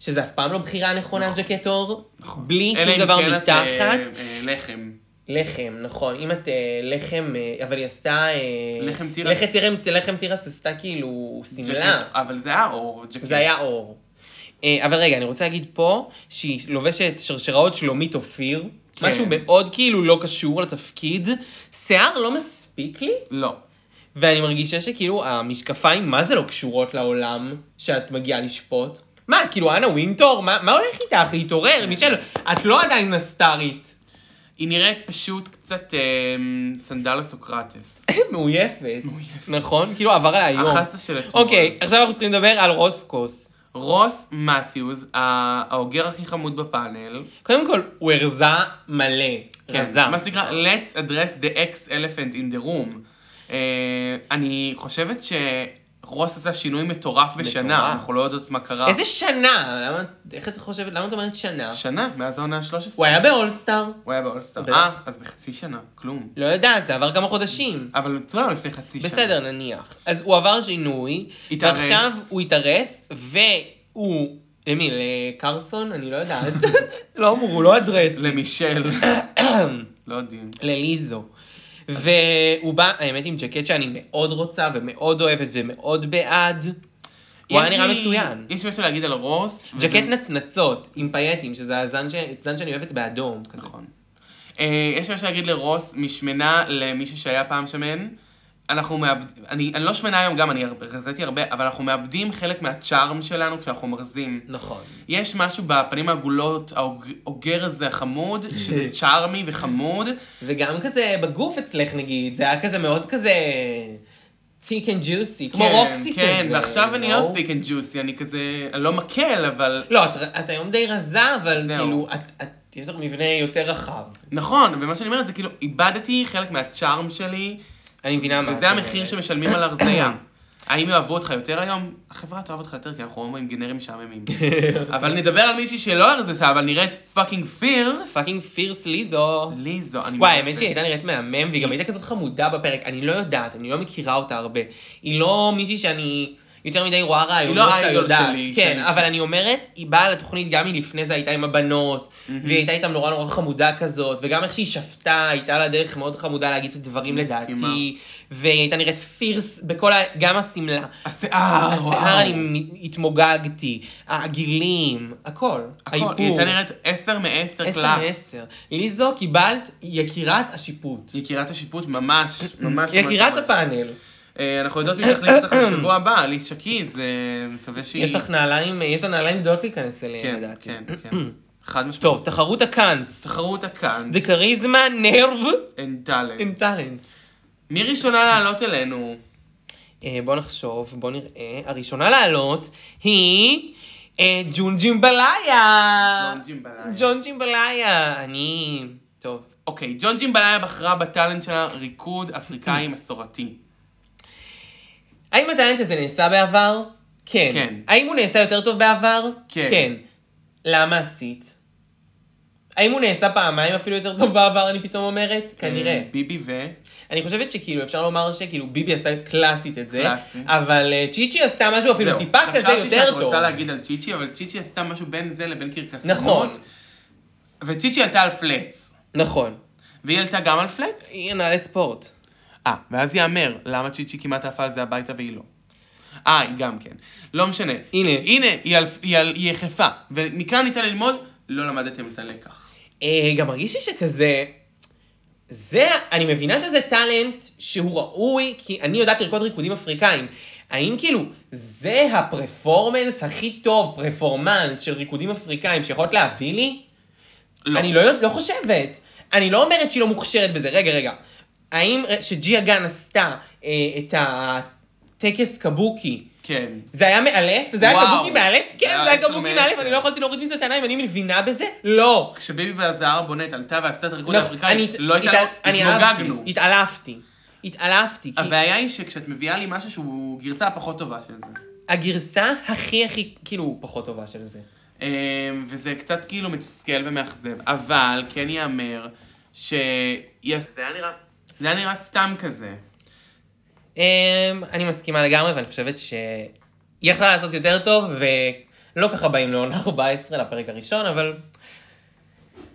Speaker 2: שזה אף פעם לא בחירה נכונה, ג'קט אור, בלי
Speaker 3: נכון. אלא
Speaker 2: שום
Speaker 3: אם
Speaker 2: דבר
Speaker 3: כן את, אה,
Speaker 2: מתחת.
Speaker 3: אה, לחם.
Speaker 2: לחם, נכון. אם את אה, לחם, אה, אבל היא עשתה... אה,
Speaker 3: לחם תירס.
Speaker 2: לחם תירם- לחם תירס עשתה כאילו שמלה.
Speaker 3: ג'קט, אה, כן. אבל זה היה אור, ג'קט.
Speaker 2: זה היה אור. אה, אבל רגע, אני רוצה להגיד פה שהיא לובשת שרשראות שלומית אופיר.
Speaker 3: כן.
Speaker 2: משהו מאוד כאילו לא קשור לתפקיד. שיער לא מספיק לי,
Speaker 3: לא.
Speaker 2: ואני מרגישה שכאילו המשקפיים, מה זה לא קשורות לעולם שאת מגיעה לשפוט? מה, את כאילו אנה ווינטור? מה, מה הולך איתך?
Speaker 3: כן.
Speaker 2: להתעורר, מישל, את לא עדיין נסטרית.
Speaker 3: היא נראית פשוט קצת אה, סנדלה סוקרטס.
Speaker 2: מאויפת. נכון? כאילו עבר עליה היום.
Speaker 3: החסה של אתמול.
Speaker 2: אוקיי, עכשיו אנחנו צריכים לדבר על רוסקוס.
Speaker 3: רוס מתיוס, ה- האוגר הכי חמוד בפאנל.
Speaker 2: קודם כל, הוא הרזה מלא.
Speaker 3: כן,
Speaker 2: רזה.
Speaker 3: מה שנקרא, let's address the ex-elephant in the room. אה, אני חושבת שרוס עשה שינוי מטורף בשנה,
Speaker 2: מטורף.
Speaker 3: אנחנו לא יודעות מה קרה.
Speaker 2: איזה שנה? למה, איך את חושבת, למה את אומרת שנה?
Speaker 3: שנה, מאז העונה ה-13.
Speaker 2: הוא היה באולסטאר.
Speaker 3: הוא היה באולסטאר.
Speaker 2: בטח.
Speaker 3: אה, אז בחצי שנה, כלום.
Speaker 2: לא יודעת, זה עבר כמה חודשים.
Speaker 3: אבל צולם לפני חצי שנה.
Speaker 2: בסדר, נניח. אז הוא עבר שינוי,
Speaker 3: התארס.
Speaker 2: ועכשיו הוא התארס, והוא... למי? לקרסון? אני לא יודעת. לא אמור, הוא לא אדרס.
Speaker 3: למישל. לא יודעים.
Speaker 2: לליזו. והוא בא, האמת, עם ג'קט שאני מאוד רוצה ומאוד אוהבת ומאוד בעד. הוא היה
Speaker 3: יש
Speaker 2: נראה
Speaker 3: לי-
Speaker 2: מצוין.
Speaker 3: יש משהו להגיד על רוס.
Speaker 2: ג'קט
Speaker 3: וזה-
Speaker 2: נצנצות, עם פייטים, שזה הזן ש- זן שאני אוהבת באדום. כזה.
Speaker 3: נכון. אה, יש משהו להגיד לרוס, משמנה למישהו שהיה פעם שמן. אנחנו מאבדים, אני, אני לא שמנה היום גם, אני הר- רזיתי הרבה, אבל אנחנו מאבדים חלק מהצ'ארם שלנו כשאנחנו מרזים.
Speaker 2: נכון.
Speaker 3: יש משהו בפנים העגולות, האוג- האוגר הזה החמוד, שזה צ'ארמי וחמוד.
Speaker 2: וגם כזה בגוף אצלך, נגיד, זה היה כזה מאוד כזה... thick and juicy, כמו
Speaker 3: כן,
Speaker 2: רוקסי כזה.
Speaker 3: כן, ועכשיו אני
Speaker 2: לא?
Speaker 3: לא פיק אנד ג'וסי, אני כזה, אני לא מקל, אבל...
Speaker 2: לא, את, את היום די רזה, אבל
Speaker 3: זהו.
Speaker 2: כאילו, את, את, יש לך מבנה יותר רחב.
Speaker 3: נכון, ומה שאני אומרת זה כאילו, איבדתי חלק מהצ'ארם שלי,
Speaker 2: אני מבינה מה. את
Speaker 3: וזה המחיר
Speaker 2: אומרת.
Speaker 3: שמשלמים על הרזייה. האם יאהבו אותך יותר היום? החברה תאהב אותך יותר, כי אנחנו הומואים גנרים משעממים. אבל נדבר על מישהי שלא הרזתה, אבל נראית פאקינג פירס.
Speaker 2: פאקינג פירס ליזו.
Speaker 3: ליזו, אני...
Speaker 2: וואי,
Speaker 3: מאוהבת.
Speaker 2: האמת שהיא הייתה נראית מהמם, והיא גם הייתה כזאת חמודה בפרק. אני לא יודעת, אני לא מכירה אותה הרבה. היא לא מישהי שאני יותר מדי רואה רעיונות
Speaker 3: לא
Speaker 2: שלה
Speaker 3: האידול
Speaker 2: יודעת.
Speaker 3: שלי,
Speaker 2: כן,
Speaker 3: שאני-
Speaker 2: אבל אני אומרת, היא באה לתוכנית גם מלפני זה הייתה עם הבנות, והיא הייתה איתן נורא נורא חמודה כזאת, וגם איך שהיא שפטה, הייתה לה דרך מאוד חמודה להגיד את הדברים לדעתי, והיא הייתה נראית פירס בכל ה... גם השמלה.
Speaker 3: השיער,
Speaker 2: השיער, אני מ- התמוגגתי, העגילים, הכל.
Speaker 3: האיפור. היא הייתה נראית 10 מ-10
Speaker 2: עשר
Speaker 3: קלאס.
Speaker 2: מעשר. ליזו, קיבלת יקירת השיפוט.
Speaker 3: יקירת השיפוט ממש, ממש. ממש
Speaker 2: יקירת
Speaker 3: ממש.
Speaker 2: הפאנל.
Speaker 3: אה, אנחנו יודעות מי תחליף אותך בשבוע הבא, עליס שקיז, אה, מקווה שהיא...
Speaker 2: יש לך נעליים, יש לה נעליים גדולות להיכנס אליהן,
Speaker 3: כן,
Speaker 2: לדעתי.
Speaker 3: כן, כן. חד משמעית.
Speaker 2: טוב, תחרות הקאנץ.
Speaker 3: תחרו אותה כאן.
Speaker 2: זה כריזמה, נרב,
Speaker 3: אין טאלנט.
Speaker 2: עם טאלנט.
Speaker 3: מי ראשונה לעלות אלינו?
Speaker 2: אה, בוא נחשוב, בוא נראה. הראשונה לעלות היא אה, ג'ון ג'ימבליה.
Speaker 3: ג'ון ג'ימבליה.
Speaker 2: ג'ון ג'ימבליה. אני... טוב.
Speaker 3: אוקיי, ג'ון ג'ימבליה בחרה בטאלנט שלה ריקוד אפריקאי מסורתי.
Speaker 2: האם הטאלנט הזה נעשה בעבר? כן.
Speaker 3: כן.
Speaker 2: האם הוא נעשה יותר טוב בעבר?
Speaker 3: כן.
Speaker 2: למה עשית? כן. האם הוא נעשה פעמיים אפילו יותר טוב בעבר, אני פתאום אומרת?
Speaker 3: כן.
Speaker 2: כנראה.
Speaker 3: אה, ביבי ו...
Speaker 2: אני חושבת שכאילו, אפשר לומר שכאילו ביבי עשתה קלאסית את זה,
Speaker 3: קלאסי.
Speaker 2: אבל אה, צ'יצ'י עשתה משהו אפילו
Speaker 3: זהו.
Speaker 2: טיפה כזה
Speaker 3: חשבתי שאת
Speaker 2: יותר טוב.
Speaker 3: רוצה להגיד על צ'יצ'י, אבל צ'יצ'י עשתה משהו בין זה לבין קרקסנות.
Speaker 2: נכון.
Speaker 3: וצ'יצ'י עלתה על פלץ.
Speaker 2: נכון.
Speaker 3: והיא עלתה גם על פלץ?
Speaker 2: היא נעלי ספורט.
Speaker 3: אה, ואז יאמר, למה צ'יצ'י כמעט עפה על זה הביתה והיא לא. אה, היא גם כן. לא משנה.
Speaker 2: הנה.
Speaker 3: הנה, היא על- היא על- היא יחפה. ומכאן ניתן ללמוד, לא למדתם את הלקח.
Speaker 2: אה, גם מרגיש לי שכזה... זה, אני מבינה שזה טאלנט שהוא ראוי, כי אני יודעת לרקוד ריקודים אפריקאים. האם כאילו, זה הפרפורמנס הכי טוב, פרפורמנס של ריקודים אפריקאים שיכולת להביא לי?
Speaker 3: לא.
Speaker 2: אני לא, לא חושבת. אני לא אומרת שהיא לא מוכשרת בזה. רגע, רגע. האם שג'יה גן עשתה אה, את הטקס קבוקי,
Speaker 3: כן.
Speaker 2: זה היה מאלף? זה היה
Speaker 3: וואו.
Speaker 2: קבוקי מאלף?
Speaker 3: זה
Speaker 2: כן,
Speaker 3: היה
Speaker 2: זה היה
Speaker 3: עשר
Speaker 2: קבוקי
Speaker 3: מעשר.
Speaker 2: מאלף, אני לא יכולתי להוריד מזה את העיניים, אני מבינה בזה? לא.
Speaker 3: כשביבי והזהר בונט עלתה ועשתה את הרגול
Speaker 2: לא,
Speaker 3: האפריקאי,
Speaker 2: אני-
Speaker 3: לא הייתה,
Speaker 2: התעל- אני אהבתי,
Speaker 3: התמוגגנו.
Speaker 2: התעלפתי. התעלפתי, כי
Speaker 3: הבעיה היא שכשאת מביאה לי משהו שהוא גרסה הפחות טובה של זה.
Speaker 2: הגרסה הכי הכי, כאילו, פחות טובה של זה.
Speaker 3: אמ, וזה קצת כאילו מתסכל ומאכזב, אבל כן ייאמר ש... יס- זה היה נראה... זה היה נראה סתם כזה.
Speaker 2: אמ, אני מסכימה לגמרי, ואני חושבת שהיא יכלה לעשות יותר טוב, ולא ככה באים לעונה 14 לפרק הראשון, אבל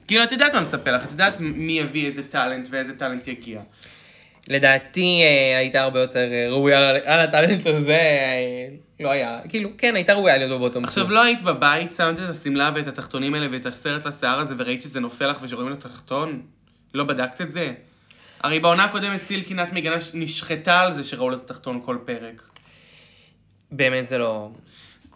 Speaker 3: כאילו, את יודעת מה מצפה לך, את יודעת מי יביא איזה טאלנט ואיזה טאלנט יגיע.
Speaker 2: לדעתי אה, הייתה הרבה יותר אה, ראויה על- על הטאלנט הזה, אה, לא היה, כאילו, כן, הייתה ראויה להיות בבוטום.
Speaker 3: עכשיו,
Speaker 2: טו.
Speaker 3: לא היית בבית, שמת את השמלה ואת התחתונים האלה ואת הסרט לשיער הזה וראית שזה נופל לך ושרואים לך תחתון? לא בדקת את זה? הרי בעונה הקודמת סיל קינת מגנה ש- נשחטה על זה שראו לה את התחתון כל פרק.
Speaker 2: באמת זה לא...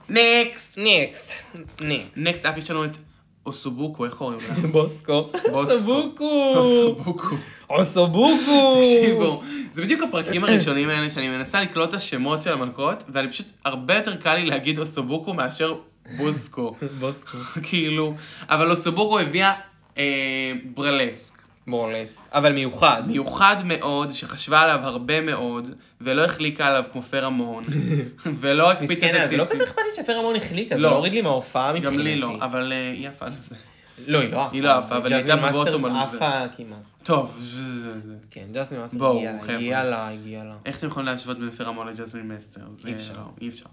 Speaker 3: נקסט!
Speaker 2: ניקס, ניקס.
Speaker 3: נקסט אפ יש לנו את אוסובוקו, איך קוראים לה?
Speaker 2: בוסקו.
Speaker 3: בוסקו.
Speaker 2: אוסובוקו.
Speaker 3: אוסובוקו.
Speaker 2: אוסובוקו.
Speaker 3: תקשיבו, זה בדיוק הפרקים הראשונים האלה שאני מנסה לקלוט את השמות של המלכות, ואני פשוט, הרבה יותר קל לי להגיד אוסובוקו מאשר בוסקו.
Speaker 2: בוסקו.
Speaker 3: כאילו, אבל אוסובוקו הביאה אה, ברלסק.
Speaker 2: מורלס. אבל מיוחד.
Speaker 3: מיוחד מאוד, שחשבה עליו הרבה מאוד, ולא החליקה עליו כמו פרמון, ולא הקפיצה את
Speaker 2: מסכנה, זה לא כזה
Speaker 3: הציצים.
Speaker 2: אכפת לי שפרמון החליטה, זה
Speaker 3: לא.
Speaker 2: לא הוריד לי מההופעה מבחינתי.
Speaker 3: גם לי לא, אבל אה, היא עפה על זה.
Speaker 2: לא, היא לא עפה.
Speaker 3: היא לא עפה, אבל היא
Speaker 2: ג'סמין
Speaker 3: הייתה
Speaker 2: מאסטרס
Speaker 3: בבוטום על זה.
Speaker 2: עפה כמעט.
Speaker 3: טוב,
Speaker 2: כן, ג'סמין מאסטרס
Speaker 3: בואו,
Speaker 2: הגיעה לה,
Speaker 3: חבר'ה.
Speaker 2: הגיעה לה, הגיעה לה.
Speaker 3: איך אתם יכולים להשוות בין פרמון לג'זמין מסטר?
Speaker 2: אי אפשר.
Speaker 3: לא, אי אפשר.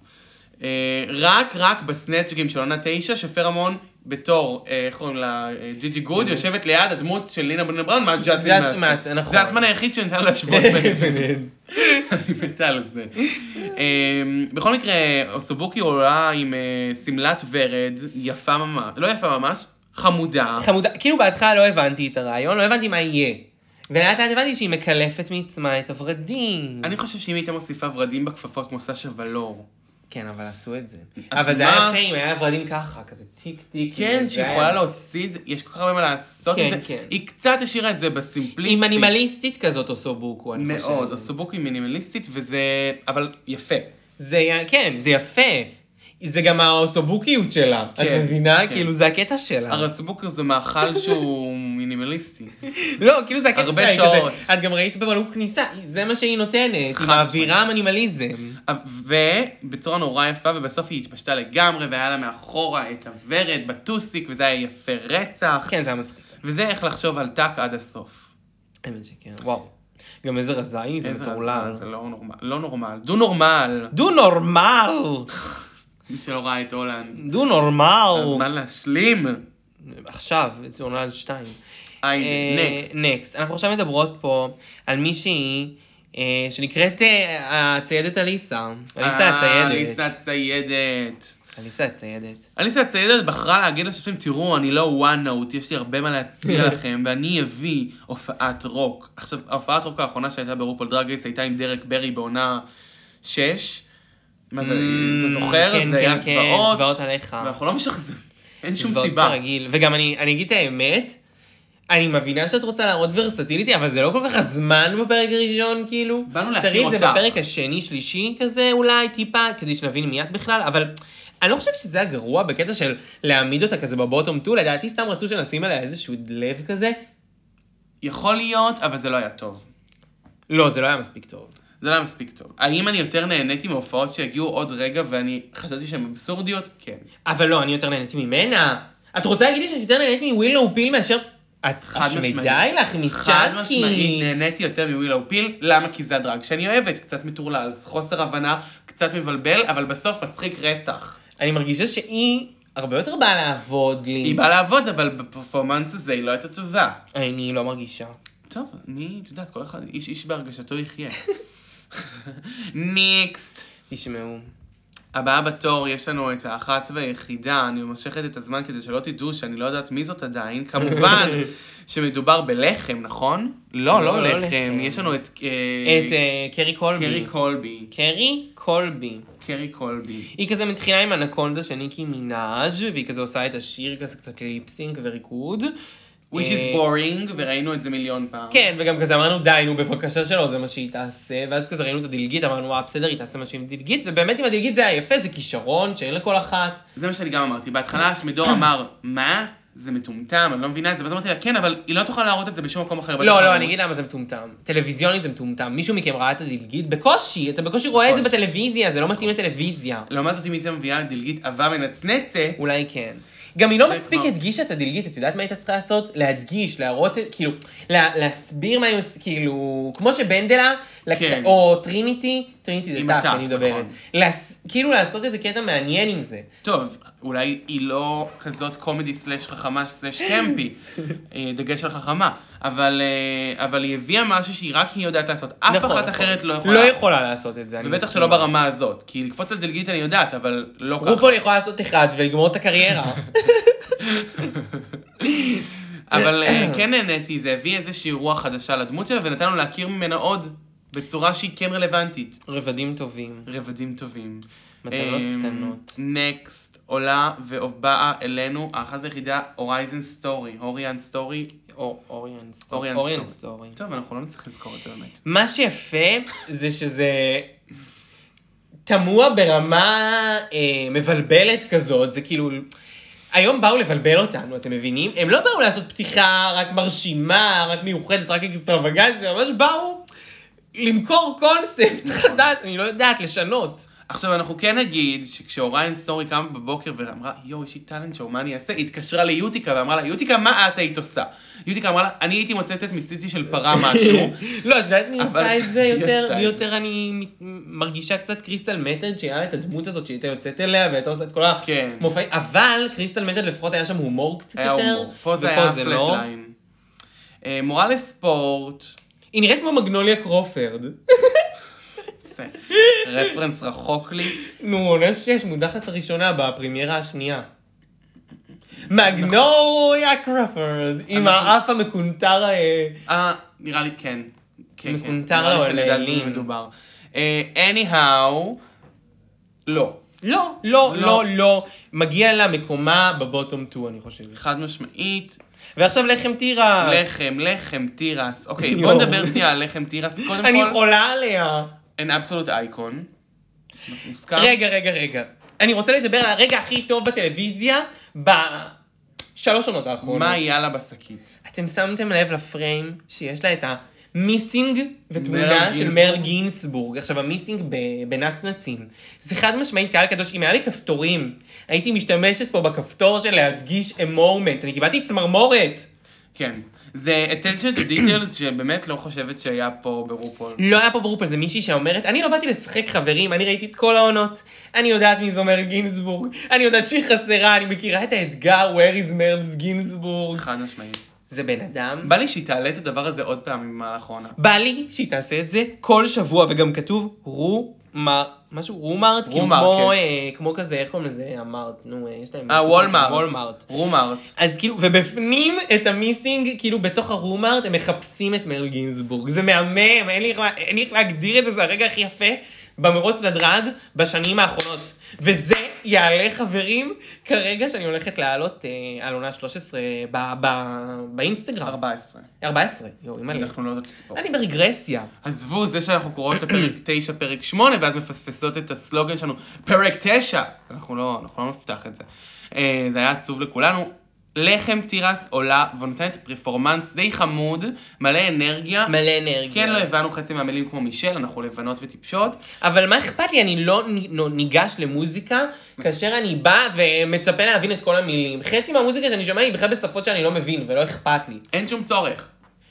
Speaker 3: אה, רק, רק בסנאצ'גים של עונה תשע, שפרמון בתור, אה, איך קוראים לה, אה, ג'י גוד, יושבת ליד הדמות של לינה בן בראון
Speaker 2: ג'סמין
Speaker 3: מהג'זמין
Speaker 2: מאסטר,
Speaker 3: מאסטר.
Speaker 2: נכון.
Speaker 3: זה הזמן היחיד שניתן להשוות ביניהם. אני מתה על זה. אה, בכל מקרה, אוסובוקי עולה עם אה, שמלת ורד, יפה ממש, לא יפה ממש, חמודה.
Speaker 2: חמודה, כאילו בהתחלה לא הבנתי את הרעיון, לא הבנתי מה יהיה. ולאט לאט הבנתי שהיא מקלפת מעצמה את הורדים.
Speaker 3: אני חושב שאם הייתה מוסיפה ורדים בכפפות כמו סשה ולור.
Speaker 2: כן, אבל עשו את זה.
Speaker 3: אז
Speaker 2: אבל זה
Speaker 3: מה?
Speaker 2: היה יפה אם היה ורדים ככה, כזה טיק טיק.
Speaker 3: כן,
Speaker 2: זה
Speaker 3: שהיא
Speaker 2: היה-
Speaker 3: יכולה להוציא את זה, יש כל כך הרבה מה לעשות
Speaker 2: כן,
Speaker 3: עם זה.
Speaker 2: כן.
Speaker 3: היא קצת השאירה את זה בסימפליסטי.
Speaker 2: היא מינימליסטית כזאת אוסובוקו, אני חושבת.
Speaker 3: מאוד, הסובוק היא מינימליסטית וזה, אבל יפה.
Speaker 2: זה, י- כן, זה יפה. זה גם האוסובוקיות שלה. את
Speaker 3: כן,
Speaker 2: מבינה?
Speaker 3: כן.
Speaker 2: כאילו, זה הקטע שלה.
Speaker 3: הרי הסובוק זה מאכל שהוא מינימליסטי.
Speaker 2: לא, כאילו, זה הקטע
Speaker 3: הרבה
Speaker 2: שלה. היא
Speaker 3: שעות.
Speaker 2: כזה- את גם ראית במלאו כניסה, זה מה שהיא נותנת.
Speaker 3: חד
Speaker 2: היא מעבירה מינימליזם.
Speaker 3: ובצורה נורא יפה, ובסוף היא התפשטה לגמרי, והיה לה מאחורה את הוורד בטוסיק, וזה היה יפה רצח.
Speaker 2: כן, זה היה מצחיק.
Speaker 3: וזה איך לחשוב על טאק עד הסוף.
Speaker 2: האמת שכן, וואו. גם איזה רזה היא, זה
Speaker 3: איזה
Speaker 2: מטורלל.
Speaker 3: הזיה, זה לא נורמל, לא נורמל, דו נורמל.
Speaker 2: דו נורמל!
Speaker 3: מי שלא ראה את הולנד.
Speaker 2: דו נורמל!
Speaker 3: הזמן להשלים.
Speaker 2: עכשיו, זה עונה על שתיים.
Speaker 3: היי,
Speaker 2: אה,
Speaker 3: נקסט.
Speaker 2: נקסט. אנחנו עכשיו מדברות פה על מישהי אה, שנקראת אה, הציידת אליסה. אליסה
Speaker 3: אה,
Speaker 2: הציידת.
Speaker 3: אליסה הציידת.
Speaker 2: אליסה הציידת.
Speaker 3: אליסה הציידת בחרה להגיד לשופטים, תראו, אני לא one note, יש לי הרבה מה להציע לכם, ואני אביא הופעת רוק. עכשיו, ההופעת רוק האחרונה שהייתה ברופול דרג רייס הייתה עם דרק ברי בעונה 6. מה זה, אתה זוכר?
Speaker 2: Mm, כן,
Speaker 3: זה
Speaker 2: כן,
Speaker 3: היה
Speaker 2: כן,
Speaker 3: זוועות.
Speaker 2: זוועות עליך.
Speaker 3: ואנחנו לא משחזרים. אין שום
Speaker 2: זוועות
Speaker 3: סיבה.
Speaker 2: כרגיל. וגם אני, אני אגיד את האמת, אני מבינה שאת רוצה להראות ורסטיליטי, אבל זה לא כל כך הזמן בפרק הראשון, כאילו.
Speaker 3: באנו להכיר
Speaker 2: תראי את זה
Speaker 3: אותך.
Speaker 2: בפרק השני, שלישי כזה אולי, טיפה, כדי שנבין מי את בכלל, אבל... אני לא חושבת שזה היה גרוע בקטע של להעמיד אותה כזה בבוטום 2, לדעתי סתם רצו שנשים עליה איזשהו לב כזה.
Speaker 3: יכול להיות, אבל זה לא היה טוב.
Speaker 2: לא, זה לא היה מספיק טוב.
Speaker 3: זה לא היה מספיק טוב. האם אני יותר נהניתי מהופעות שיגיעו עוד רגע ואני חשבתי שהן אבסורדיות? כן.
Speaker 2: אבל לא, אני יותר נהניתי ממנה. את רוצה להגיד לי שאת יותר נהנית מווילאו פיל מאשר... את
Speaker 3: חד משמעית.
Speaker 2: השמדי לך
Speaker 3: חד משמעית
Speaker 2: מצ'אקי.
Speaker 3: נהניתי יותר מווילאו פיל, למה? כי זה הדרג שאני אוהבת, קצת מטורלל, זה חוסר הבנה, קצת מבלבל, אבל בסוף מצחיק רצח.
Speaker 2: אני מרגישה שהיא הרבה יותר באה לעבוד לי.
Speaker 3: היא באה לעבוד, אבל בפרפורמנס הזה היא לא הייתה טובה.
Speaker 2: אני לא מרגישה.
Speaker 3: טוב, אני, את יודעת, כל אחד, איש איש בהרגשתו יחיה. ניקסט.
Speaker 2: תשמעו.
Speaker 3: הבאה בתור, יש לנו את האחת והיחידה, אני מושכת את הזמן כדי שלא תדעו שאני לא יודעת מי זאת עדיין, כמובן שמדובר בלחם, נכון? לא,
Speaker 2: לא,
Speaker 3: לא
Speaker 2: לא
Speaker 3: לחם,
Speaker 2: לחם.
Speaker 3: יש לנו את... אה,
Speaker 2: את אה, קרי
Speaker 3: קרי
Speaker 2: קולבי.
Speaker 3: קולבי.
Speaker 2: קרי קולבי.
Speaker 3: קרי קולבי.
Speaker 2: היא כזה מתחילה עם אנקונדה של ניקי מנאז' והיא כזה עושה את השיר כזה קצת ליפסינק וריקוד.
Speaker 3: which
Speaker 2: אה,
Speaker 3: is boring, וראינו את זה מיליון פעם.
Speaker 2: כן, וגם כזה אמרנו די, נו, בבקשה שלא, זה מה שהיא תעשה. ואז כזה ראינו את הדלגית, אמרנו, וואה, בסדר, היא תעשה משהו עם דלגית, ובאמת עם הדלגית זה היה יפה, זה כישרון שאין לכל אחת.
Speaker 3: זה מה שאני גם אמרתי. בהתחלה שמדור אמר, מה? זה מטומטם, אני לא מבינה את זה, ואז אמרתי לה, כן, אבל היא לא תוכל להראות את זה בשום מקום אחר.
Speaker 2: לא,
Speaker 3: בתחרות."
Speaker 2: לא, אני אגיד למה זה מטומטם. טלוויזיונית זה מטומטם. מישהו מכם ראה את הדלגית? בקושי, אתה בקושי רואה את זה
Speaker 3: בקושי. נכון.
Speaker 2: בטלוויזיה, זה לא מתאים לטלוויזיה.
Speaker 3: לעומת לא, זאת, אם היא הייתה מביאה דלגית עבה מנצנצת,
Speaker 2: אולי כן. גם היא לא
Speaker 3: זה
Speaker 2: מספיק
Speaker 3: כבר-
Speaker 2: הדגישה את הדלגית, את יודעת מה הייתה צריכה לעשות? להדגיש, להראות, כאילו, לה, להסביר מה היא עושה, כאילו, כמו שבנדלה, לקט...
Speaker 3: כן.
Speaker 2: או טריניטי, טריניטי
Speaker 3: עם
Speaker 2: זה טאק,
Speaker 3: הטאק,
Speaker 2: אני מדברת.
Speaker 3: נכון.
Speaker 2: להס... כאילו לעשות איזה קטע מעניין עם זה.
Speaker 3: טוב, אולי היא לא כזאת קומדי סלאש חכמה סלאש קמפי, אה, דגש על חכמה, אבל, אה, אבל היא הביאה משהו שהיא רק היא יודעת לעשות, אף
Speaker 2: נכון,
Speaker 3: אחת
Speaker 2: נכון.
Speaker 3: אחרת לא
Speaker 2: לא
Speaker 3: יכולה.
Speaker 2: יכולה לעשות את זה, אני
Speaker 3: ובטח
Speaker 2: מסכימה.
Speaker 3: שלא ברמה הזאת, כי לקפוץ על דלגית אני יודעת, אבל לא ככה.
Speaker 2: רופול יכולה לעשות אחד ולגמור את הקריירה.
Speaker 3: אבל אה, כן נהניתי, זה הביא איזושהי רוח חדשה לדמות שלה, ונתן לנו להכיר ממנה עוד, בצורה שהיא כן רלוונטית.
Speaker 2: רבדים טובים,
Speaker 3: רבדים טובים.
Speaker 2: מתנות קטנות.
Speaker 3: נקסט, עולה ובאה אלינו, האחת והיחידה, הורייזן סטורי, הוריאן סטורי.
Speaker 2: או- אוריאן סטורי.
Speaker 3: אוריאן
Speaker 2: אוריאן
Speaker 3: סטורי.
Speaker 2: סטורי.
Speaker 3: טוב, אנחנו לא נצטרך לזכור את זה באמת.
Speaker 2: מה שיפה זה שזה תמוה ברמה אה, מבלבלת כזאת, זה כאילו... היום באו לבלבל אותנו, אתם מבינים? הם לא באו לעשות פתיחה רק מרשימה, רק מיוחדת, רק אקסטרווגנטית, הם ממש באו למכור קונספט חדש, אני לא יודעת, לשנות.
Speaker 3: עכשיו, אנחנו כן נגיד שכשאוריין סטורי קמה בבוקר ואמרה, יואו, יש לי טאלנט שואו, מה אני אעשה? היא התקשרה ליוטיקה ואמרה לה, יוטיקה, מה את היית עושה? יוטיקה אמרה לה, אני הייתי מוצצת מציצי של פרה משהו.
Speaker 2: לא, את יודעת מי
Speaker 3: אבל-
Speaker 2: עשתה את זה
Speaker 3: היא
Speaker 2: יותר?
Speaker 3: עשתה
Speaker 2: מי
Speaker 3: את זה.
Speaker 2: יותר אני מת- מרגישה קצת קריסטל מתד, שהיה לה את הדמות הזאת שהייתה יוצאת אליה והייתה עושה את כל
Speaker 3: כן.
Speaker 2: המופעים, אבל קריסטל מתד לפחות היה שם הומור קצת
Speaker 3: היה
Speaker 2: יותר.
Speaker 3: הומור. פה זה
Speaker 2: ופה
Speaker 3: היה
Speaker 2: לא.
Speaker 3: פלטליין. אה, מורה לספורט.
Speaker 2: היא נראית כמו מגנוליה קרופרד.
Speaker 3: זה רפרנס רחוק לי.
Speaker 2: נו, עונה שש, מודחת הראשונה בפרימיירה השנייה. מגנוליה קרופרד, עם
Speaker 3: אנחנו-
Speaker 2: האף המקונטר אה,
Speaker 3: אה, נראה לי כן. כן, כן.
Speaker 2: מקונטר
Speaker 3: נראה לי
Speaker 2: לו
Speaker 3: שאני יודעת במי
Speaker 2: לאלים.
Speaker 3: מדובר. אה, anyhow, לא.
Speaker 2: לא, לא, לא,
Speaker 3: לא.
Speaker 2: לא. מגיע לה מקומה בבוטום 2, אני חושב.
Speaker 3: חד משמעית,
Speaker 2: אה, ועכשיו לחם תירס.
Speaker 3: לחם, לחם, תירס. אוקיי,
Speaker 2: יואו.
Speaker 3: בואו נדבר שנייה על לחם תירס. קודם
Speaker 2: אני
Speaker 3: כל,
Speaker 2: חולה עליה.
Speaker 3: an absolute icon. מוזכר.
Speaker 2: רגע, רגע, רגע. אני רוצה לדבר על הרגע הכי טוב בטלוויזיה בשלוש עונות האחרונות.
Speaker 3: מה היה לה בשקית?
Speaker 2: אתם שמתם לב לפריים שיש לה את המיסינג ותמונה
Speaker 3: מר
Speaker 2: של
Speaker 3: גינסבורג.
Speaker 2: מר גינסבורג. עכשיו, המיסינג ב- בנצנצים. זה חד משמעית קהל קדוש. אם היה לי כפתורים, הייתי משתמשת פה בכפתור של להדגיש a moment. אני קיבלתי צמרמורת.
Speaker 3: כן. זה attention to details שבאמת לא חושבת שהיה פה ברופול.
Speaker 2: לא היה פה ברופל, זה מישהי שאומרת, אני לא באתי לשחק חברים, אני ראיתי את כל העונות. אני יודעת מי זה אומר גינסבורג, אני יודעת שהיא חסרה, אני מכירה את האתגר where is מרלס גינסבורג.
Speaker 3: חד משמעית.
Speaker 2: זה בן אדם.
Speaker 3: בא לי שהיא תעלה את הדבר הזה עוד פעם במהלך העונה.
Speaker 2: בא לי שהיא תעשה את זה כל שבוע, וגם כתוב רומר, משהו רומארט, כאילו
Speaker 3: רומארט,
Speaker 2: כמו,
Speaker 3: כן.
Speaker 2: אה, כמו כזה, איך קוראים לזה? אמרת, נו, אה, יש להם...
Speaker 3: אה,
Speaker 2: משהו
Speaker 3: וולמארט.
Speaker 2: כזה, וולמארט.
Speaker 3: רומארט.
Speaker 2: אז כאילו, ובפנים את המיסינג, כאילו בתוך הרומארט, הם מחפשים את מרל גינסבורג. זה מהמם, אין לי, איך- אין לי איך להגדיר את זה, זה הרגע הכי יפה במרוץ לדרג בשנים האחרונות. וזה יעלה, חברים, כרגע שאני הולכת לעלות אה, על עונה 13 ב, ב, באינסטגרם.
Speaker 3: 14.
Speaker 2: 14, יואו, אימא לי.
Speaker 3: אנחנו לא יודעות לספור.
Speaker 2: אה. אני ברגרסיה.
Speaker 3: עזבו, זה שאנחנו קוראות לפרק 9, פרק 8, ואז מפספסות את הסלוגן שלנו, פרק 9! אנחנו לא, אנחנו לא נפתח את זה. אה, זה היה עצוב לכולנו. לחם תירס עולה ונותנת פרפורמנס די חמוד, מלא אנרגיה.
Speaker 2: מלא אנרגיה.
Speaker 3: כן, לא הבנו חצי מהמילים כמו מישל, אנחנו לבנות וטיפשות.
Speaker 2: אבל מה אכפת לי, אני לא נ- ניגש למוזיקה כאשר אני בא ומצפה להבין את כל המילים. חצי מהמוזיקה שאני שומע היא בכלל בשפות שאני לא מבין, ולא אכפת לי.
Speaker 3: אין שום צורך.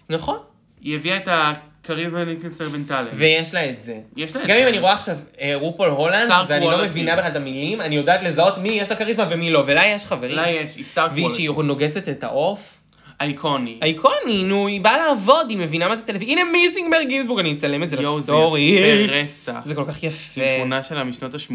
Speaker 2: נכון.
Speaker 3: היא הביאה את הכריזמה לינקנסטרבנטלן.
Speaker 2: ויש לה את זה.
Speaker 3: יש לה את
Speaker 2: גם
Speaker 3: זה.
Speaker 2: אם אני רואה עכשיו אה, רופול הולנד,
Speaker 3: סטאר
Speaker 2: ואני לא
Speaker 3: קוואליטי.
Speaker 2: מבינה בכלל את המילים, אני יודעת לזהות מי יש לה כריזמה ומי לא, ולה יש חברים.
Speaker 3: לה יש, היא סטאר
Speaker 2: והיא
Speaker 3: קוולט.
Speaker 2: שהיא נוגסת את העוף.
Speaker 3: אייקוני.
Speaker 2: אייקוני, נו, היא באה לעבוד, היא מבינה מה זה טלוויזיה. הנה מיסינגבר גינסבורג, אני אצלם את זה
Speaker 3: יואו, זה
Speaker 2: לסטורי.
Speaker 3: יפה רצח.
Speaker 2: זה כל כך יפה.
Speaker 3: זו תמונה שלה משנות ה-80.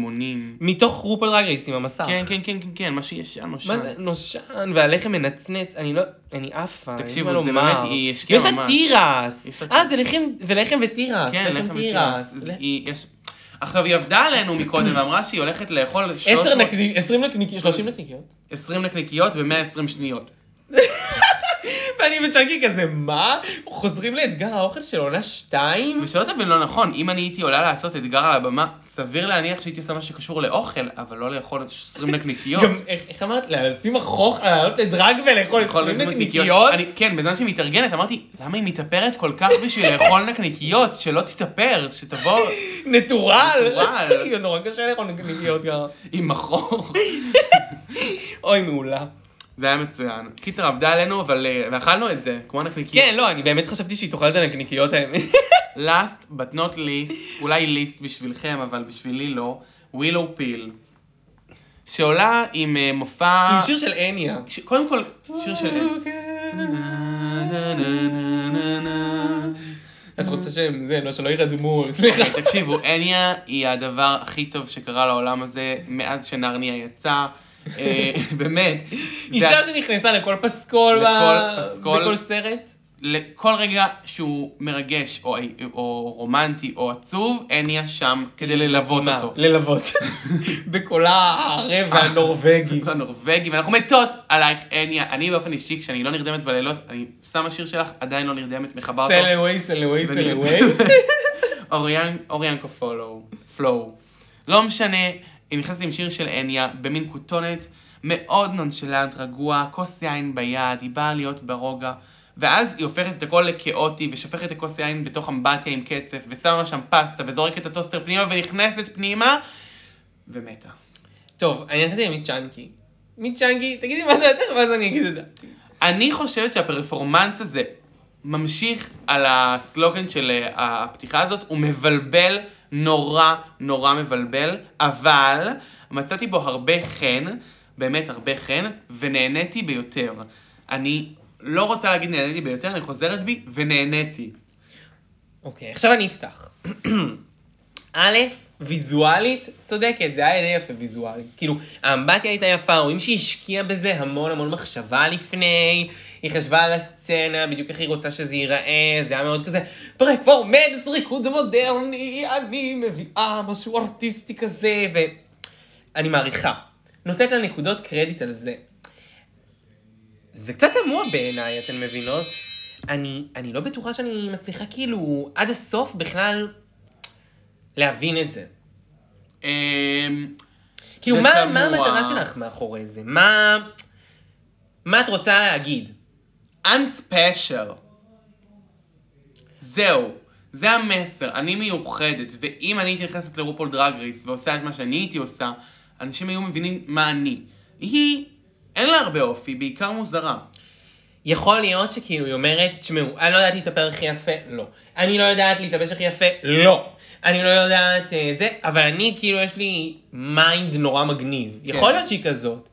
Speaker 2: מתוך רופול דרג רייס עם המסך.
Speaker 3: כן, כן, כן, כן, כן, משהו ישן, משהו.
Speaker 2: מה זה נושן, והלחם מנצנץ, אני לא, אני עפה. אין
Speaker 3: תקשיבו,
Speaker 2: מה
Speaker 3: זה
Speaker 2: לומר.
Speaker 3: באמת, היא השקיעה
Speaker 2: ויש לה
Speaker 3: ממש.
Speaker 2: תירס.
Speaker 3: יש לה
Speaker 2: אה, זה לחם, ולחם ותירס.
Speaker 3: כן, לחם ותירס.
Speaker 2: זה-
Speaker 3: זה- היא- יש- עכשיו, היא עבדה עלינו מקודם ואמרה שהיא הולכת לאכול
Speaker 2: עשר
Speaker 3: 300
Speaker 2: נקניקיות, עשרים נקניקיות, שלושים נקניקיות.
Speaker 3: 20 נקניקיות ו-120 שניות.
Speaker 2: ואני וצ'אנקי כזה, מה? חוזרים לאתגר האוכל של עונה שתיים?
Speaker 3: ושלא תבין לא נכון, אם אני הייתי עולה לעשות אתגר על הבמה, סביר להניח שהייתי עושה משהו שקשור לאוכל, אבל לא לאכול 20 נקניקיות.
Speaker 2: גם, איך איך אמרת? לשים החוך, לעלות לדרג ולאכול
Speaker 3: לאכול
Speaker 2: עשרים נקניקיות?
Speaker 3: אני- כן, בזמן שהיא מתארגנת אמרתי, למה היא מתאפרת כל כך בשביל לאכול נקניקיות? שלא תתאפר, שתבוא
Speaker 2: נטורל?
Speaker 3: נטורל.
Speaker 2: נורא קשה לאכול נקניקיות גם.
Speaker 3: עם מחור.
Speaker 2: אוי, מעולה.
Speaker 3: זה היה מצוין. קיצר, עבדה עלינו, אבל... אה, ואכלנו את זה, כמו נקניקיות.
Speaker 2: כן, לא, אני באמת חשבתי שהיא תאכל את הנקניקיות האמת.
Speaker 3: last but not least, אולי ליסט בשבילכם, אבל בשבילי לא, ווילו פיל. שעולה עם אה, מופע...
Speaker 2: עם שיר של הניה.
Speaker 3: ש- קודם כל, שיר של אל.
Speaker 2: אה,
Speaker 3: נה, נה, נה, נה, נה, נה.
Speaker 2: את רוצה שהם זה, לא, שלא ירדמו, סליחה.
Speaker 3: אוקיי, תקשיבו, הניה היא הדבר הכי טוב שקרה לעולם הזה מאז שנרניה יצא. אה, באמת. זה
Speaker 2: אישה שנכנסה לכל פסקול, ב-
Speaker 3: לכל פסקול.
Speaker 2: בכל סרט.
Speaker 3: לכל רגע שהוא מרגש, או, או רומנטי, או עצוב, הניה שם כדי ללוות
Speaker 2: מה?
Speaker 3: אותו.
Speaker 2: אה, ללוות. בקולה הערב
Speaker 3: אה.
Speaker 2: והנורבגי.
Speaker 3: הנורבגי, ואנחנו מתות עלייך, הניה. אני באופן אישי, כשאני לא נרדמת בלילות, אני שמה שיר שלך, עדיין לא נרדמת, מכבה אותו.
Speaker 2: סל אווי, סל אווי, סל
Speaker 3: ונרדמת.
Speaker 2: אווי.
Speaker 3: אוריאן- אוריאנקו פולו, פלואו. לא משנה, היא נכנסת עם שיר של הניה, במין כותונת, מאוד נונשלנט, רגוע, כוס יין ביד, היא באה להיות ברוגע. ואז היא הופכת את הכל לכאוטי, ושופכת את הכוס יין בתוך אמבטיה עם קצף, ושמה שם פסטה, וזורקת את הטוסטר פנימה, ונכנסת פנימה, ומתה.
Speaker 2: טוב, אני נתתי למיצ'אנקי. מיצ'אנקי, תגידי מה זה יותר, ואז אני אגיד את דעתי.
Speaker 3: אני חושבת שהפרפורמנס הזה ממשיך על הסלוגן של אה, הפתיחה הזאת, הוא מבלבל, נורא נורא מבלבל, אבל מצאתי בו הרבה חן, באמת הרבה חן, ונהניתי ביותר. אני לא רוצה להגיד נהניתי ביותר, אני חוזרת בי, ונהניתי.
Speaker 2: אוקיי, עכשיו אני אפתח. א', ויזואלית, צודקת, זה היה די יפה ויזואלית. כאילו, האמבטיה הייתה יפה, רואים שהיא השקיעה בזה המון המון מחשבה לפני, היא חשבה על הסצנה, בדיוק איך היא רוצה שזה ייראה, זה היה מאוד כזה פרפורמנס, ריקוד מודרני, אני מביאה משהו ארטיסטי כזה, ואני מעריכה. נותנת לה נקודות קרדיט על זה. זה קצת תמוה בעיניי, אתן מבינות? אני, אני לא בטוחה שאני מצליחה כאילו עד הסוף בכלל להבין את זה.
Speaker 3: אמ,
Speaker 2: כאילו,
Speaker 3: זה
Speaker 2: מה,
Speaker 3: תמוה.
Speaker 2: מה המטרה שלך מאחורי זה? מה... מה את רוצה להגיד?
Speaker 3: I'm special. זהו, זה המסר, אני מיוחדת, ואם אני הייתי נכנסת לרופול דרג רייס ועושה את מה שאני הייתי עושה, אנשים היו מבינים מה אני. היא, אין לה הרבה אופי, בעיקר מוזרה.
Speaker 2: יכול להיות שכאילו היא אומרת, תשמעו, אני לא יודעת להתאפר הכי יפה, לא. אני לא יודעת להתלבש הכי יפה, לא. אני לא יודעת אה, זה, אבל אני כאילו יש לי מיינד נורא מגניב. כן. יכול להיות שהיא כזאת.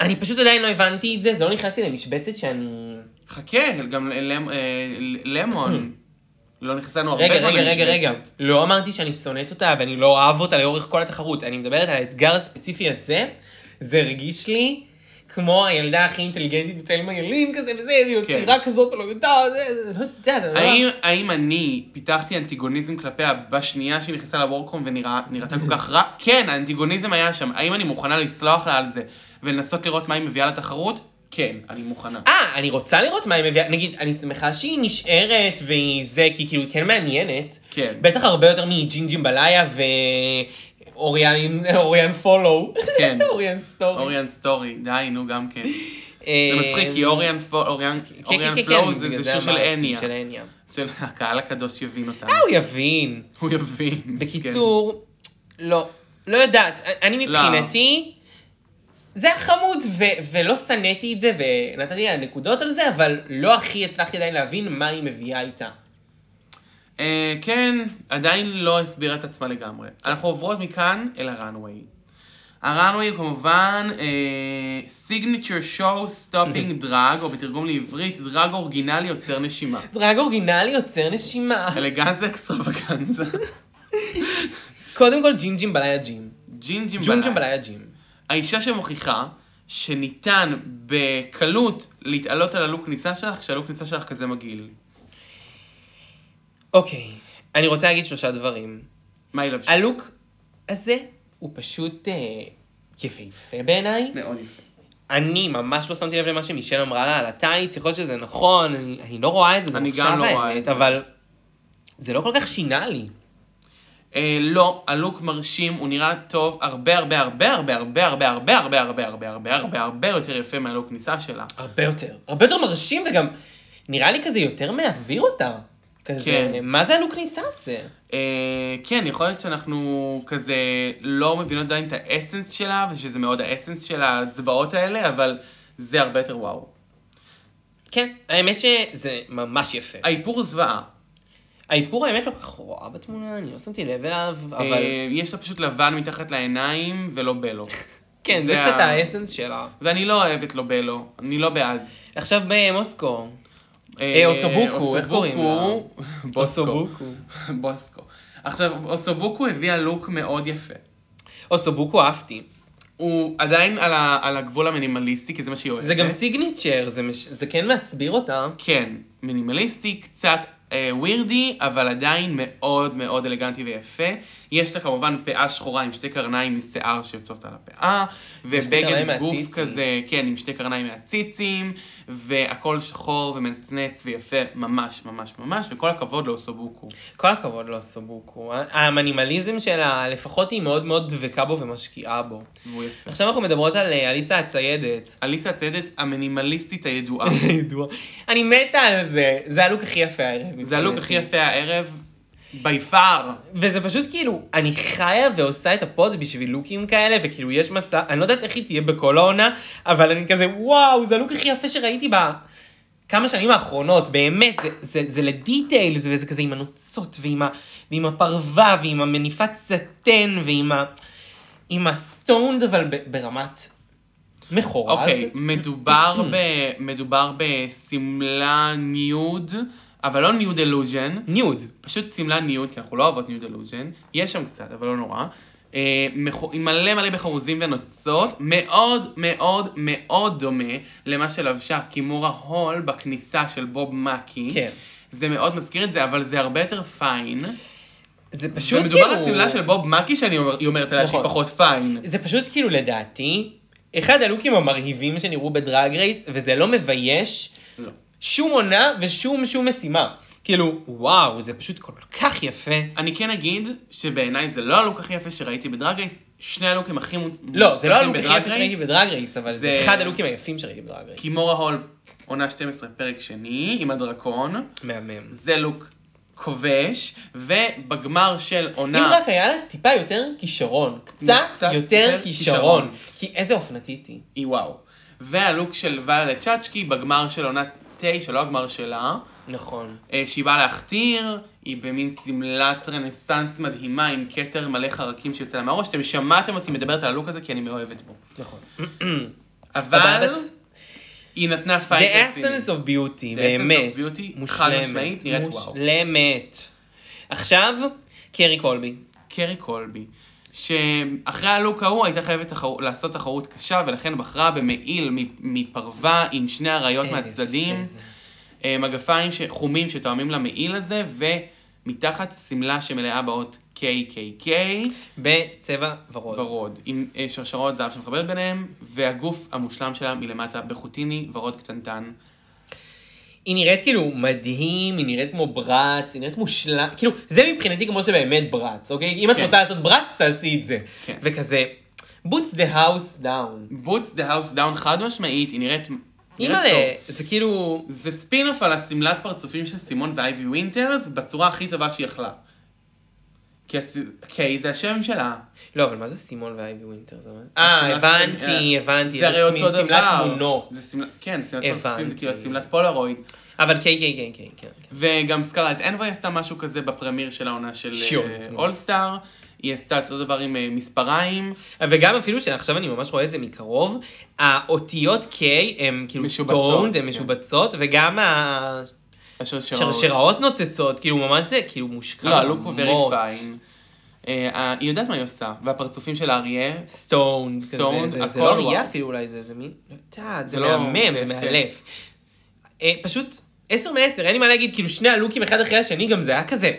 Speaker 2: אני פשוט עדיין לא הבנתי את זה, זה לא נכנס לי למשבצת שאני...
Speaker 3: חכה, גם ל- למ- אה, ל- למון. לא נכנסנו הרבה
Speaker 2: רגע, רגע,
Speaker 3: למשבצת.
Speaker 2: רגע, רגע. לא אמרתי שאני שונאת אותה ואני לא אוהב אותה לאורך כל התחרות. אני מדברת על האתגר הספציפי הזה. זה הרגיש לי כמו הילדה הכי אינטליגנטית בתלמה ילין כזה וזה, והיא
Speaker 3: כן.
Speaker 2: יצירה כזאת ולא יודעת, זה, זה, לא יודעת, אני לא...
Speaker 3: האם, האם אני פיתחתי אנטיגוניזם כלפיה בשנייה שהיא נכנסה לוורקום ונראתה כל כך רע? כן, האנטיגוניזם היה שם. האם אני מוכנה לסלוח לה על זה ולנסות לראות מה היא מביאה לתחרות? כן, אני מוכנה.
Speaker 2: אה, אני רוצה לראות מה היא מביאה, נגיד, אני שמחה שהיא נשארת והיא זה, כי כאילו היא כן מעניינת.
Speaker 3: כן.
Speaker 2: בטח הרבה יותר מג'ינג'ימבליה ואוריאן פולו.
Speaker 3: כן.
Speaker 2: אוריאן סטורי.
Speaker 3: אוריאן סטורי, די, נו גם כן. זה מצחיק, כי אוריאן פו- אוריאן-
Speaker 2: אה, כן, כן,
Speaker 3: אוריאן
Speaker 2: כן,
Speaker 3: פלואו
Speaker 2: כן,
Speaker 3: זה
Speaker 2: בגלל
Speaker 3: זה שיר של
Speaker 2: אמרתי,
Speaker 3: הניה.
Speaker 2: של הניה.
Speaker 3: של הקהל הקדוש יבין אותנו.
Speaker 2: אה, הוא יבין.
Speaker 3: הוא יבין. כן. מסכן.
Speaker 2: בקיצור, לא. לא יודעת, אני
Speaker 3: לא.
Speaker 2: מבחינתי, זה היה חמוד, ו- ולא שנאתי את זה, ונתתי לה נקודות על זה, אבל לא הכי הצלחתי עדיין להבין מה היא מביאה איתה.
Speaker 3: אה, כן, עדיין לא הסבירה את עצמה לגמרי. אנחנו עוברות מכאן אל הראנוויי. הראנוויי הוא כמובן אה, signature show stopping drag, או בתרגום לעברית, דרג אורגינלי יוצר נשימה.
Speaker 2: דרג אורגינלי יוצר נשימה.
Speaker 3: אלגנזה אקסטרווגנזה.
Speaker 2: קודם כל ג'ינג'ים בלאי הג'ים.
Speaker 3: ג'ינג'ים
Speaker 2: ג'ונג'ים
Speaker 3: בלילה.
Speaker 2: בלאי הג'ים.
Speaker 3: האישה שמוכיחה שניתן בקלות להתעלות על הלוק כניסה שלך, כשהלוק כניסה שלך כזה מגעיל.
Speaker 2: אוקיי, אני רוצה להגיד שלושה דברים.
Speaker 3: מה היא לבשה?
Speaker 2: הלוק הזה הוא פשוט אה, יפהפה בעיניי.
Speaker 3: מאוד יפה.
Speaker 2: אני ממש לא שמתי לב למה שמישל אמרה לה על הטייץ, יכול להיות שזה נכון, אני, אני לא רואה את זה
Speaker 3: אני
Speaker 2: במחשב
Speaker 3: גם לא רואה את
Speaker 2: האמת,
Speaker 3: זה.
Speaker 2: אבל זה לא כל כך שינה לי.
Speaker 3: אה, לא, הלוק מרשים, הוא נראה טוב הרבה הרבה הרבה הרבה הרבה הרבה הרבה הרבה הרבה הרבה הרבה הרבה הרבה יותר יפה מהלוק כניסה שלה.
Speaker 2: הרבה יותר. הרבה יותר מרשים וגם נראה לי כזה יותר מאוויר אותה. כזה,
Speaker 3: כן.
Speaker 2: מה זה הלוק כניסה הזה?
Speaker 3: אה, כן, יכול להיות שאנחנו כזה לא מבינות עדיין את האסנס שלה, ושזה מאוד האסנס של הזוועות האלה, אבל זה הרבה יותר וואו.
Speaker 2: כן, האמת שזה ממש יפה.
Speaker 3: האיפור הוא זוועה. אה,
Speaker 2: האיפור האמת לא כל כך רואה בתמונה, אני לא שמתי לב אליו,
Speaker 3: אבל...
Speaker 2: אבל
Speaker 3: יש לה פשוט לבן מתחת לעיניים ולא בלו.
Speaker 2: כן, זה
Speaker 3: זה
Speaker 2: קצת
Speaker 3: ה-
Speaker 2: האסנס שלה.
Speaker 3: ואני לא אוהבת לא בלו, אני לא בעד.
Speaker 2: עכשיו במוסקו.
Speaker 3: אה,
Speaker 2: אוסובוקו, איך קוראים לה?
Speaker 3: אוסובוקו- בוסקו.
Speaker 2: אוסובוקו.
Speaker 3: בוסקו. עכשיו, אוסובוקו הביאה לוק מאוד יפה.
Speaker 2: אוסובוקו אהבתי.
Speaker 3: הוא עדיין על, ה, על הגבול המינימליסטי, כי זה מה שהיא אוהבת.
Speaker 2: זה גם סיגניצ'ר, זה מש- זה כן מסביר אותה.
Speaker 3: כן, מינימליסטי, קצת אה, ווירדי, אבל עדיין מאוד מאוד אלגנטי ויפה. יש לה כמובן פאה שחורה עם שתי קרניים משיער שיוצאות על הפאה,
Speaker 2: קרניים
Speaker 3: ובגד גוף
Speaker 2: מהציצים.
Speaker 3: כזה, כן, עם שתי קרניים מהציצים, והכל שחור ומנצנץ ויפה ממש ממש ממש, וכל הכבוד לאוסובוקו.
Speaker 2: כל הכבוד לאוסובוקו. המינימליזם שלה, לפחות היא מאוד מאוד דבקה בו ומשקיעה בו.
Speaker 3: והוא יפה.
Speaker 2: עכשיו אנחנו מדברות על אה, אליסה הציידת.
Speaker 3: אליסה הציידת המינימליסטית הידועה.
Speaker 2: ידוע. אני מתה על זה, זה הלוק הכי יפה הערב.
Speaker 3: זה הלוק הכי
Speaker 2: מבחינתי.
Speaker 3: יפה הערב, בי פאר.
Speaker 2: וזה פשוט כאילו, אני חיה ועושה את הפוד בשביל לוקים כאלה, וכאילו יש מצב, אני לא יודעת איך היא תהיה בכל העונה, אבל אני כזה, וואו, זה הלוק הכי יפה שראיתי בכמה שנים האחרונות, באמת, זה, זה, זה לדיטיילס, וזה כזה עם הנוצות, ועם, ה, ועם הפרווה, ועם המניפת סטן, ועם ה... עם הסטונד, אבל ב, ברמת מכורז.
Speaker 3: אוקיי, מדובר ב- מדובר בשמלה ניוד, אבל לא ניוד אלוז'ן,
Speaker 2: ניוד.
Speaker 3: פשוט שמלה ניוד, כי אנחנו לא אוהבות ניוד אלוז'ן, יש שם קצת, אבל לא נורא. אה, מכו- עם מלא מלא בחרוזים ונוצות, מאוד מאוד מאוד דומה למה שלבשה קימורה הול בכניסה של בוב מקי.
Speaker 2: כן.
Speaker 3: זה מאוד מזכיר את זה, אבל זה הרבה יותר פיין.
Speaker 2: זה פשוט כאילו...
Speaker 3: ומדובר על שמלה של בוב מקי שאני אומר- היא אומרת עליה שהיא
Speaker 2: נכון.
Speaker 3: פחות פיין.
Speaker 2: זה פשוט כאילו לדעתי, אחד הלוקים המרהיבים שנראו בדרג רייס, וזה לא מבייש
Speaker 3: לא.
Speaker 2: שום עונה ושום שום משימה. כאילו, וואו, זה פשוט כל כך יפה.
Speaker 3: אני כן אגיד שבעיניי זה לא הלוק הכי יפה שראיתי בדרג רייס, שני הלוקים הכי מוצ- מוצלחים
Speaker 2: לא, זה לא הלוק הכי
Speaker 3: בדרג
Speaker 2: יפה
Speaker 3: רייס.
Speaker 2: שראיתי בדרג רייס, אבל זה
Speaker 3: זה-
Speaker 2: אחד הלוקים היפים שראיתי בדרג רייס.
Speaker 3: קימורה הול, עונה 12, פרק שני, עם הדרקון,
Speaker 2: מהמם.
Speaker 3: זה לוק כובש, ובגמר של
Speaker 2: אם
Speaker 3: עונה...
Speaker 2: רק היה לה טיפה יותר כישרון. קצת
Speaker 3: קצת
Speaker 2: יותר
Speaker 3: יותר
Speaker 2: כישרון. כי איזה אופנתית היא.
Speaker 3: היא וואו. והלוק של ואלה צ'אצ'קי, בגמר של עונה 9, לא הגמר שלה,
Speaker 2: נכון.
Speaker 3: אה, שהיא באה להכתיר, היא במין שמלת רנסאנס מדהימה עם כתר מלא חרקים שיוצא לה מהראש. אתם שמעתם אותי מדברת על הלוק הזה כי אני מאוהבת בו.
Speaker 2: נכון.
Speaker 3: אבל
Speaker 2: סבבת?
Speaker 3: היא נתנה
Speaker 2: The
Speaker 3: פייט רציני.
Speaker 2: essence of beauty,
Speaker 3: The
Speaker 2: באמת.
Speaker 3: essence of beauty,
Speaker 2: מושלמת.
Speaker 3: חד-משמעית, נראית וואו.
Speaker 2: מושלמת. עכשיו, קרי קולבי.
Speaker 3: קרי קולבי, שאחרי הלוק ההוא הייתה חייבת תחר... לעשות תחרות קשה, ולכן בחרה במעיל מ- מפרווה עם שני אריות
Speaker 2: איזה
Speaker 3: מהצדדים,
Speaker 2: יפה זה.
Speaker 3: אה, מגפיים ש... חומים שתואמים למעיל הזה, ומתחת שמלה שמלאה באות KKK,
Speaker 2: בצבע ורוד.
Speaker 3: ורוד, עם אה, שרשרות זהב שמחברת ביניהם, והגוף המושלם שלה מלמטה בחוטיני, ורוד קטנטן.
Speaker 2: היא נראית כאילו מדהים, היא נראית כמו ברץ, היא נראית מושלם, כאילו, זה מבחינתי כמו שבאמת ברץ, אוקיי? אם את
Speaker 3: כן.
Speaker 2: רוצה לעשות ברץ, תעשי את זה.
Speaker 3: כן.
Speaker 2: וכזה, boots the house down.
Speaker 3: בוץ דה האוס דאון חד משמעית, היא נראית
Speaker 2: אימא'לה, זה כאילו...
Speaker 3: זה ספינוף על השמלת פרצופים של סימון ואייבי ווינטרס בצורה הכי טובה שהיא יכלה. כי הס- כי זה השם שלה.
Speaker 2: לא, אבל מה זה סימון ואייבי ווינטר? זה אומר- אה,
Speaker 3: שמלת-
Speaker 2: הבנתי,
Speaker 3: אה,
Speaker 2: הבנתי.
Speaker 3: זה הרי
Speaker 2: לעצמי,
Speaker 3: אותו דבר.
Speaker 2: שמלת תמונות.
Speaker 3: זה שמלת- כן, שמלת פרצופים זה
Speaker 2: הבנתי.
Speaker 3: כאילו שמלת פולרויד.
Speaker 2: אבל כן, כן, כן, כן, כן. כן.
Speaker 3: וגם סקארלט אנבוי עשתה משהו כזה בפרמיר של העונה של אה,
Speaker 2: שיו, זה תמונה.
Speaker 3: אולסטאר. היא עשתה את אותו דבר עם אה, מספריים.
Speaker 2: וגם אפילו שעכשיו אני ממש רואה את זה מקרוב, האותיות K הן כאילו
Speaker 3: משובצות,
Speaker 2: סטונד,
Speaker 3: כן.
Speaker 2: הן משובצות, וגם
Speaker 3: השרשראות.
Speaker 2: השרשראות נוצצות, כאילו ממש זה כאילו מושקע.
Speaker 3: לא, הלוק הוא
Speaker 2: מאוד.
Speaker 3: very fine. אה, היא יודעת מה היא עושה, והפרצופים של האריה,
Speaker 2: סטונד,
Speaker 3: Stoned,
Speaker 2: סטונד, זה, זה
Speaker 3: הכל
Speaker 2: לא אריה
Speaker 3: וואו.
Speaker 2: אפילו אולי, זה, זה מין, לא יודעת, זה
Speaker 3: זה לא-
Speaker 2: מהמם,
Speaker 3: זה
Speaker 2: זה
Speaker 3: יפה.
Speaker 2: מאלף. אה, פשוט, עשר מעשר, אין לי מה להגיד, כאילו שני הלוקים אחד אחרי השני, גם זה היה כזה,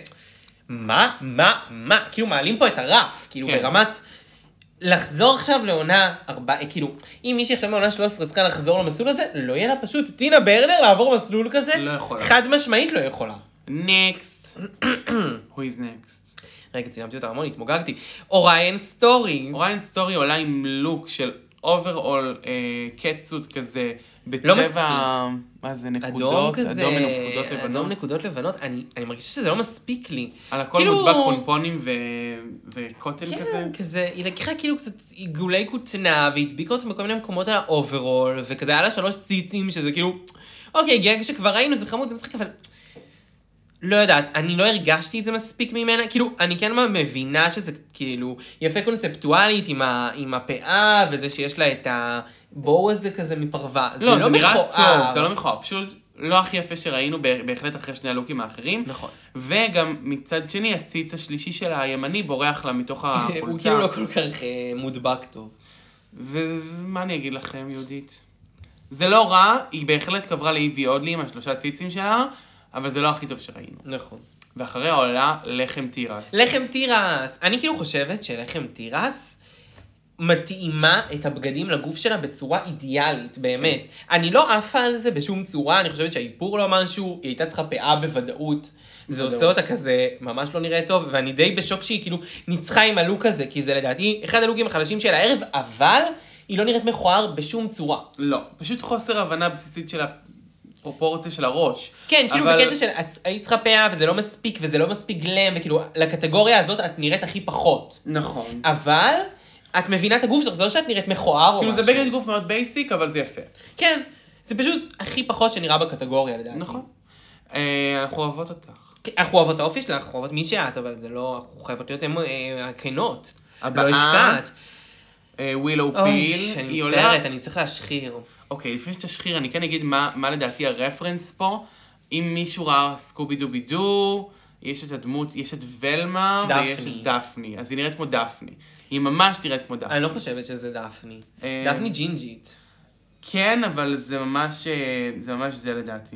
Speaker 2: מה, מה, מה, כאילו מעלים פה את הרף, כאילו
Speaker 3: כן.
Speaker 2: ברמת... לחזור עכשיו לעונה ארבע, אה, כאילו, אם מישהי עכשיו מעונה 13 צריכה לחזור למסלול הזה, לא יהיה לה פשוט. טינה ברנר לעבור מסלול כזה,
Speaker 3: לא יכולה.
Speaker 2: חד משמעית לא יכולה.
Speaker 3: נקסט. who is next?
Speaker 2: רגע, צילמתי אותה המון, התמוגגתי. אוריין סטורי.
Speaker 3: אוריין סטורי עולה עם לוק של אוברול קטסוט כזה, בצבע...
Speaker 2: לא מספיק.
Speaker 3: מה זה,
Speaker 2: אדום
Speaker 3: נקודות?
Speaker 2: כזה,
Speaker 3: אדום ונקודות לבנות.
Speaker 2: אדום נקודות לבנות, אני, אני מרגישה שזה לא מספיק לי.
Speaker 3: על הכל
Speaker 2: כאילו-
Speaker 3: מודבק פונפונים ו... וקוטן כזה.
Speaker 2: כן, כזה, היא לקחה כאילו קצת עיגולי כותנה, והדביקה אותם בכל מיני מקומות על האוברול, וכזה היה לה שלוש ציצים, שזה כאילו, אוקיי, גג שכבר ראינו, זה חמוד, זה משחק, אבל... לא יודעת, אני לא הרגשתי את זה מספיק ממנה, כאילו, אני כן מבינה שזה כאילו יפה קונספטואלית עם, ה, עם הפאה, וזה שיש לה את הבואו הזה כזה מפרווה. זה לא,
Speaker 3: לא, זה נראה
Speaker 2: מכוער.
Speaker 3: טוב, זה לא מכוער, פשוט לא הכי יפה שראינו בה- בהחלט אחרי שני הלוקים האחרים.
Speaker 2: נכון.
Speaker 3: וגם מצד שני, הציץ השלישי שלה, הימני, בורח לה מתוך החולצה.
Speaker 2: הוא כאילו לא כל כך אה, מודבק טוב.
Speaker 3: ומה אני אגיד לכם, יהודית? זה לא רע, היא בהחלט קברה לאיבי אודלי עם השלושה הציצים שלה, אבל זה לא הכי טוב שראינו.
Speaker 2: נכון.
Speaker 3: ואחריה עולה לחם תירס.
Speaker 2: לחם תירס. אני כאילו חושבת שלחם תירס מתאימה את הבגדים לגוף שלה בצורה אידיאלית, באמת.
Speaker 3: כן.
Speaker 2: אני לא עפה על זה בשום צורה, אני חושבת שהאיפור לא משהו, היא הייתה צריכה פאה בוודאות. זה
Speaker 3: בוודאות.
Speaker 2: עושה אותה כזה, ממש לא נראה טוב, ואני די בשוק שהיא כאילו ניצחה עם הלוק הזה, כי זה לדעתי אחד הלוקים החלשים של הערב, אבל היא לא נראית מכוער בשום צורה.
Speaker 3: לא, פשוט חוסר הבנה בסיסית של הפרופורציה של הראש.
Speaker 2: כן, כאילו
Speaker 3: אבל-
Speaker 2: בקטע של את- היית צריכה פאה, וזה לא מספיק, וזה לא מספיק גלם, וכאילו, לקטגוריה הזאת את נראית הכי פחות.
Speaker 3: נכון.
Speaker 2: אה, אבל את מבינה את הגוף שלך, זה לא שאת נראית מכוער או משהו.
Speaker 3: כאילו זה בגד גוף מאוד בייסיק, אבל זה יפה.
Speaker 2: כן, זה פשוט הכי פחות שנראה בקטגוריה לדעתי.
Speaker 3: נכון. אה, אנחנו אוהבות אותך.
Speaker 2: כן, אנחנו אוהבות את האופי שלך, אנחנו אוהבות מי שאת, אבל זה לא, אנחנו חייבות להיות אה, הכנות.
Speaker 3: הבאה,
Speaker 2: לא השקעת.
Speaker 3: ווילו
Speaker 2: אוי,
Speaker 3: פיל,
Speaker 2: אני
Speaker 3: אה, היא
Speaker 2: מצטערת,
Speaker 3: עולה...
Speaker 2: אני צריך להשחיר.
Speaker 3: אוקיי, לפני שתשחיר, אני כן אגיד מה מה לדעתי הרפרנס פה. אם מישהו ראה סקובי דובי דו, יש את הדמות, יש את ולמה,
Speaker 2: דפני.
Speaker 3: ויש את דפני. אז היא נראית כמו דפני. היא ממש נראית כמו דפני.
Speaker 2: אני לא חושבת שזה דפני.
Speaker 3: אה,
Speaker 2: דפני ג'ינג'ית.
Speaker 3: כן, אבל זה ממש, אה, זה ממש זה לדעתי.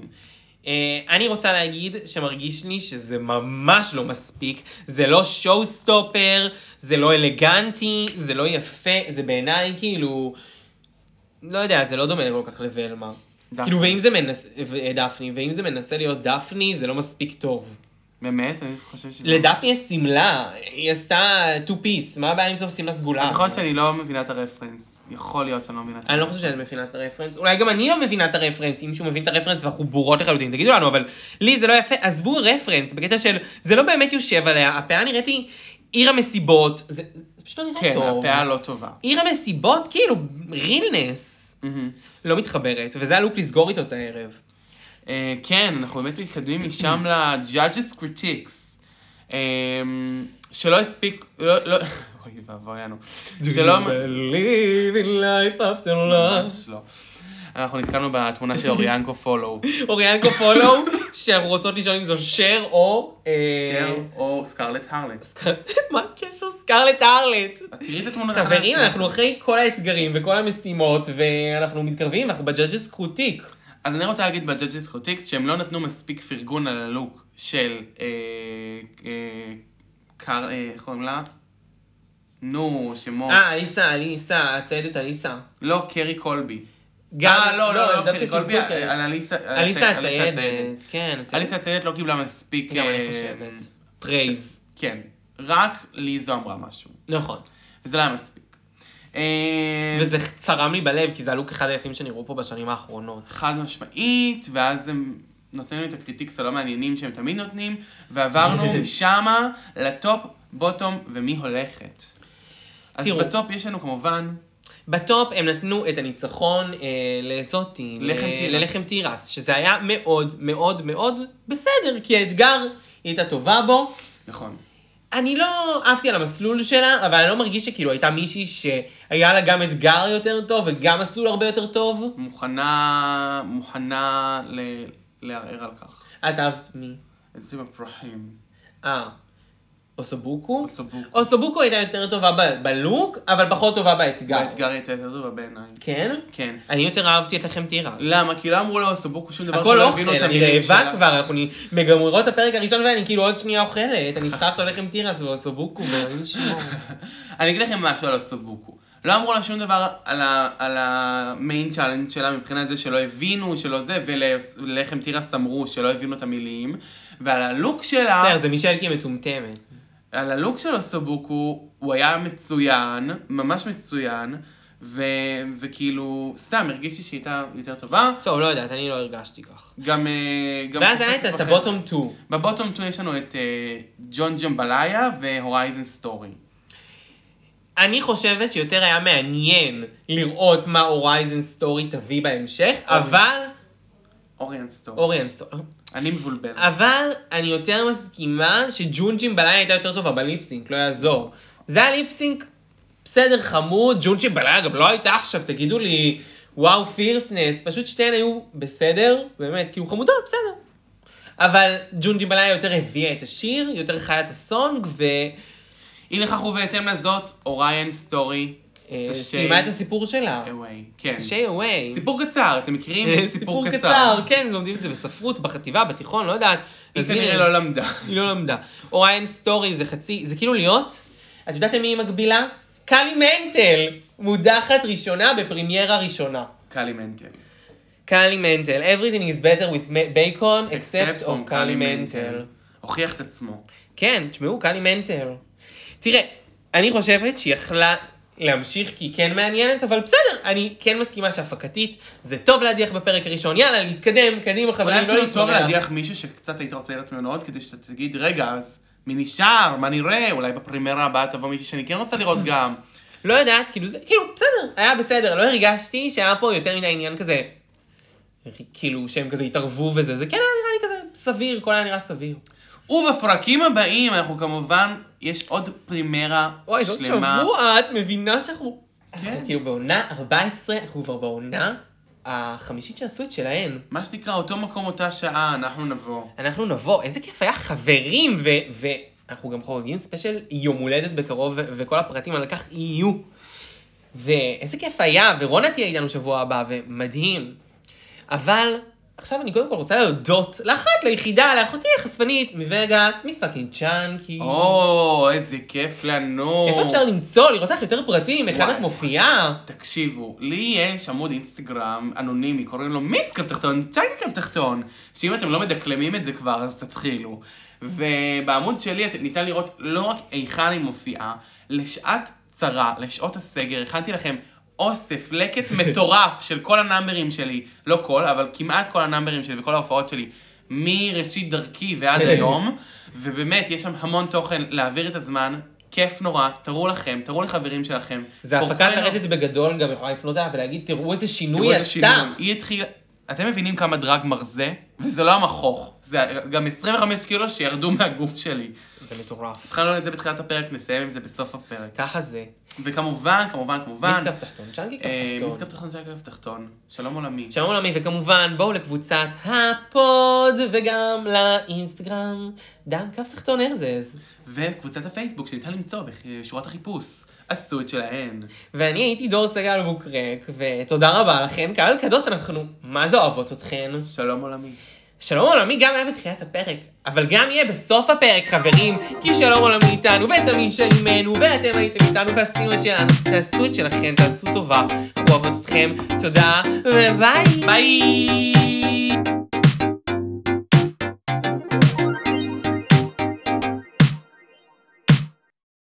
Speaker 2: אה, אני רוצה להגיד שמרגיש לי שזה ממש לא מספיק, זה לא שואו סטופר, זה לא אלגנטי, זה לא יפה, זה בעיניי כאילו, לא יודע, זה לא דומה כל כך לוולמה.
Speaker 3: דפני.
Speaker 2: כאילו, ואם זה מנסה, דפני, ואם זה מנסה להיות דפני, זה לא מספיק טוב.
Speaker 3: Mm. באמת? אני חושב שזה...
Speaker 2: לדפני יש שמלה, היא עשתה two piece, מה הבעיה למצוא שמלה סגולה?
Speaker 3: אז יכול להיות שאני לא מבינה את הרפרנס. יכול להיות שאני לא מבינה את
Speaker 2: אני לא חושבת שאת מבינה את הרפרנס, אולי גם אני לא מבינה את הרפרנס, אם מישהו מבין את הרפרנס ואנחנו בורות לחלוטין, תגידו לנו, אבל לי זה לא יפה, עזבו רפרנס, בקטע של, זה לא באמת יושב עליה, הפאה נראית לי עיר המסיבות, זה, זה פשוט לא נראה
Speaker 3: כן,
Speaker 2: טוב.
Speaker 3: הפאה לא טובה.
Speaker 2: עיר המסיבות, כאילו, רילנס,
Speaker 3: מהמם.
Speaker 2: לא מתחברת, וזה הלוק לסגור איתו את הערב.
Speaker 3: אה, כן, אנחנו באמת מתקדמים משם ל-Judges Critics. אה, שלא הספיק, לא, לא, אוי ואבוי לנו.
Speaker 2: לא
Speaker 3: שלא,
Speaker 2: believe in life after
Speaker 3: ממש לא. אנחנו נתקענו בתמונה של אוריאנקו פולו.
Speaker 2: אוריאנקו פולו, שאנחנו רוצות לשאול אם זו שר או... אה,
Speaker 3: שר או סקרלט הרלט.
Speaker 2: סקר- מה הקשר סקרלט הרלט?
Speaker 3: את תראי את התמונות.
Speaker 2: חברים,
Speaker 3: אחרי-
Speaker 2: אנחנו אחרי כל האתגרים וכל המשימות, ואנחנו מתקרבים, אנחנו בג'אג'ס קרוטיק.
Speaker 3: אז אני רוצה להגיד ב-Judges Critics שהם לא נתנו מספיק פרגון על הלוק של אה, אה, קר, אה, איך קוראים לה? נו, שמות.
Speaker 2: אה, אליסה, אליסה, הציידת אליסה.
Speaker 3: לא, קרי קולבי.
Speaker 2: גם-
Speaker 3: אה, לא, לא, לא,
Speaker 2: דווקא
Speaker 3: קרי קולבי,
Speaker 2: שיווק,
Speaker 3: אה, על אליסה על
Speaker 2: אליסה
Speaker 3: הצי- אליסה
Speaker 2: הציידת, כן,
Speaker 3: אליסה
Speaker 2: הציידת.
Speaker 3: הציידת לא קיבלה מספיק...
Speaker 2: גם אני
Speaker 3: אה,
Speaker 2: חושבת. פרייז.
Speaker 3: ש- כן. רק ליזו אמרה משהו.
Speaker 2: נכון.
Speaker 3: וזה לא היה מספיק. אמ, אה,
Speaker 2: וזה צרם לי בלב, כי זה הלוק אחד היפים שנראו פה בשנים האחרונות.
Speaker 3: חד משמעית, ואז הם נותנים לי את הקריטיקס הלא מעניינים שהם תמיד נותנים, ועברנו משמה לטופ, בוטום ומי הולכת. אז
Speaker 2: תראו.
Speaker 3: בטופ יש לנו כמובן,
Speaker 2: בטופ הם נתנו את הניצחון אה, לזאתי, ל-
Speaker 3: לחם תירס.
Speaker 2: ללחם תירס, שזה היה מאוד מאוד מאוד בסדר, כי האתגר היא הייתה טובה בו.
Speaker 3: נכון,
Speaker 2: אני לא עפתי על המסלול שלה, אבל אני לא מרגיש שכאילו הייתה מישהי שהיה לה גם אתגר יותר טוב וגם מסלול הרבה יותר טוב.
Speaker 3: מוכנה, מוכנה ל- לערער על כך.
Speaker 2: את אהבת מי?
Speaker 3: איזה מפרחים.
Speaker 2: אה, אוסובוקו?
Speaker 3: אוסובוקו.
Speaker 2: אוסובוקו הייתה יותר טובה ב- בלוק, אבל פחות טובה באתגר.
Speaker 3: האתגר הייתה יותר טובה בעיניי.
Speaker 2: כן?
Speaker 3: כן.
Speaker 2: אני יותר אהבתי את לחם תירס.
Speaker 3: למה? כי לא אמרו לו אוסובוקו שום דבר
Speaker 2: הכל
Speaker 3: שלא
Speaker 2: אוכל,
Speaker 3: הבינו את
Speaker 2: אני
Speaker 3: המילים
Speaker 2: רעבה
Speaker 3: שלה.
Speaker 2: כבר, אנחנו נ- מגמרות את הפרק הראשון ואני כאילו עוד שנייה אוכלת, אני צריכה עכשיו לחם תירס ואוסובוקו ואני שמור.
Speaker 3: אה. אני אגיד לכם משהו על הסובוקו. לא אמרו לה שום דבר על, ה, על המיין צ'אלנג' שלה מבחינת זה שלא הבינו, שלא זה, וללחם תירס אמרו שלא הבינו את המילים. ועל הלוק שלה,
Speaker 2: בסדר, זה מישל כי היא מטומטמת.
Speaker 3: על הלוק של הסובוקו, הוא היה מצוין, ממש מצוין, ו, וכאילו, סתם הרגישתי שהיא הייתה יותר טובה.
Speaker 2: טוב, לא יודעת, אני לא הרגשתי כך.
Speaker 3: גם... אה, גם
Speaker 2: ואז היה
Speaker 3: קצת
Speaker 2: את
Speaker 3: אחר.
Speaker 2: הבוטום 2.
Speaker 3: בבוטום 2 יש לנו את אה, ג'ון ג'מבליה והורייזן סטורי.
Speaker 2: אני חושבת שיותר היה מעניין לראות מה הורייזן סטורי תביא בהמשך, אבל...
Speaker 3: אוריאן סטורי.
Speaker 2: אוריאן סטורי.
Speaker 3: אני מבולבל.
Speaker 2: אבל אני יותר מסכימה שג'ונג'ים בלילה הייתה יותר טובה בליפסינק, לא יעזור. זה היה ליפסינק בסדר חמוד, ג'ונג'ים בלילה גם לא הייתה עכשיו, תגידו לי, וואו פירסנס, פשוט שתיהן היו בסדר, באמת, כאילו חמודות, בסדר. אבל ג'ונג'ים בלילה יותר הביאה את השיר, יותר חיה את הסונג,
Speaker 3: אי לכך ובהתאם לזאת, אוריין סטורי.
Speaker 2: וסיימה אה, את הסיפור שלה.
Speaker 3: אווי. כן.
Speaker 2: שיי אווי.
Speaker 3: סיפור קצר, אתם מכירים? יש סיפור קצר.
Speaker 2: אה, כן, לומדים את זה בספרות, בחטיבה, בתיכון, לא יודעת.
Speaker 3: היא
Speaker 2: אז הנה,
Speaker 3: כנראה לא למדה.
Speaker 2: היא לא למדה. אוריין סטורי זה חצי, זה כאילו להיות, את יודעת למי היא מקבילה? קלי מנטל, מודחת ראשונה בפרמיירה ראשונה.
Speaker 3: קאלי מנטל.
Speaker 2: קלי מנטל, everything is better with ma- bacon except of קלי מנטל.
Speaker 3: הוכיח את עצמו.
Speaker 2: כן, תשמעו, קלי מנטל. תראה, אני חושבת שהיא יכלה להמשיך כי היא כן מעניינת, אבל בסדר, אני כן מסכימה שהפקתית, זה טוב להדיח בפרק הראשון, יאללה, להתקדם, קדימה
Speaker 3: אולי
Speaker 2: חברים, לא
Speaker 3: אפילו טוב
Speaker 2: להתמרח.
Speaker 3: להדיח מישהו שקצת היית רוצה לראות ממנו עוד, כדי שאתה תגיד, רגע, אז מי נשאר? מה נראה? אולי בפרימיירה הבאה תבוא מישהי שאני כן רוצה לראות גם.
Speaker 2: לא יודעת, כאילו זה, כאילו, בסדר, היה בסדר, לא הרגשתי שהיה פה יותר מדי עניין כזה, כאילו שהם כזה התערבו וזה, זה כן היה נראה לי כזה סביר, הכל היה נראה סביר.
Speaker 3: ובפרקים הבאים, אנחנו כמובן, יש עוד פרימיירה שלמה.
Speaker 2: אוי, זאת שבוע, את מבינה שאנחנו...
Speaker 3: כן.
Speaker 2: אנחנו כאילו בעונה 14, אנחנו כבר בעונה החמישית שעשו את שלהן.
Speaker 3: מה שנקרא, אותו מקום, אותה שעה, אנחנו נבוא.
Speaker 2: אנחנו נבוא, איזה כיף היה חברים, ו... ו... אנחנו גם חוגגים ספיישל יום הולדת בקרוב, ו- וכל הפרטים על כך יהיו. ואיזה כיף היה, ורונה תהיה איתנו שבוע הבא, ומדהים. אבל עכשיו אני קודם כל רוצה להודות לאחת, ליחידה, לאחותי החשפנית מווגאס, מיס פאקינג צ'אנקי.
Speaker 3: או, איזה כיף לנו.
Speaker 2: איפה אפשר למצוא, לראות לך יותר פרטים, היכן
Speaker 3: וואי.
Speaker 2: את מופיעה?
Speaker 3: תקשיבו, לי יש עמוד אינסטגרם אנונימי, קוראים לו מיס קו תחתון, צ'יינג קו תחתון, שאם אתם לא מדקלמים את זה כבר, אז תתחילו. ובעמוד שלי את- ניתן לראות לא רק היכן היא מופיעה, לשעת צרה, לשעות הסגר, הכנתי לכם אוסף, לקט מטורף של כל הנאמברים שלי, לא כל, אבל כמעט כל הנאמברים שלי וכל ההופעות שלי, מראשית דרכי ועד היום, ובאמת, יש שם המון תוכן להעביר את הזמן. כיף נורא, תראו לכם, תראו לחברים שלכם.
Speaker 2: זה
Speaker 3: קוראים
Speaker 2: הפקה
Speaker 3: לנו-
Speaker 2: לרדת בגדול, גם יכולה לפנות אליו ולהגיד, תראו איזה שינוי
Speaker 3: תראו
Speaker 2: היא
Speaker 3: איזה
Speaker 2: עשתה.
Speaker 3: שינוי. היא התחילה... אתם מבינים כמה דרג מרזה? וזה לא המכוך. זה גם 25 קילו שירדו מהגוף שלי.
Speaker 2: זה מטורף.
Speaker 3: התחלנו את זה בתחילת הפרק, נסיים עם זה בסוף הפרק.
Speaker 2: ככה זה.
Speaker 3: וכמובן, כמובן, כמובן...
Speaker 2: מיס קו תחתון, צ'אנקי קו
Speaker 3: אה,
Speaker 2: תחתון.
Speaker 3: מיס קו תחתון, שקף תחתון. שלום עולמי.
Speaker 2: שלום עולמי, וכמובן, בואו לקבוצת הפוד, וגם לאינסטגרם, דן קו תחתון ארזז.
Speaker 3: וקבוצת הפייסבוק שניתן למצוא בשורת החיפוש. עשו את שלהן.
Speaker 2: ואני הייתי דור סגל בוקרק, ותודה רבה לכן, קהל קדוש, אנחנו מה זה אוהבות אתכן.
Speaker 3: שלום עולמי.
Speaker 2: שלום עולמי גם היה בתחילת הפרק, אבל גם יהיה בסוף הפרק, חברים, כי שלום עולמי איתנו, ותמיד שעימנו, ואתם הייתם איתנו, ועשינו את שלנו, תעשו את שלכן, תעשו טובה, אנחנו אוהבות אתכם, תודה, וביי.
Speaker 3: ביי!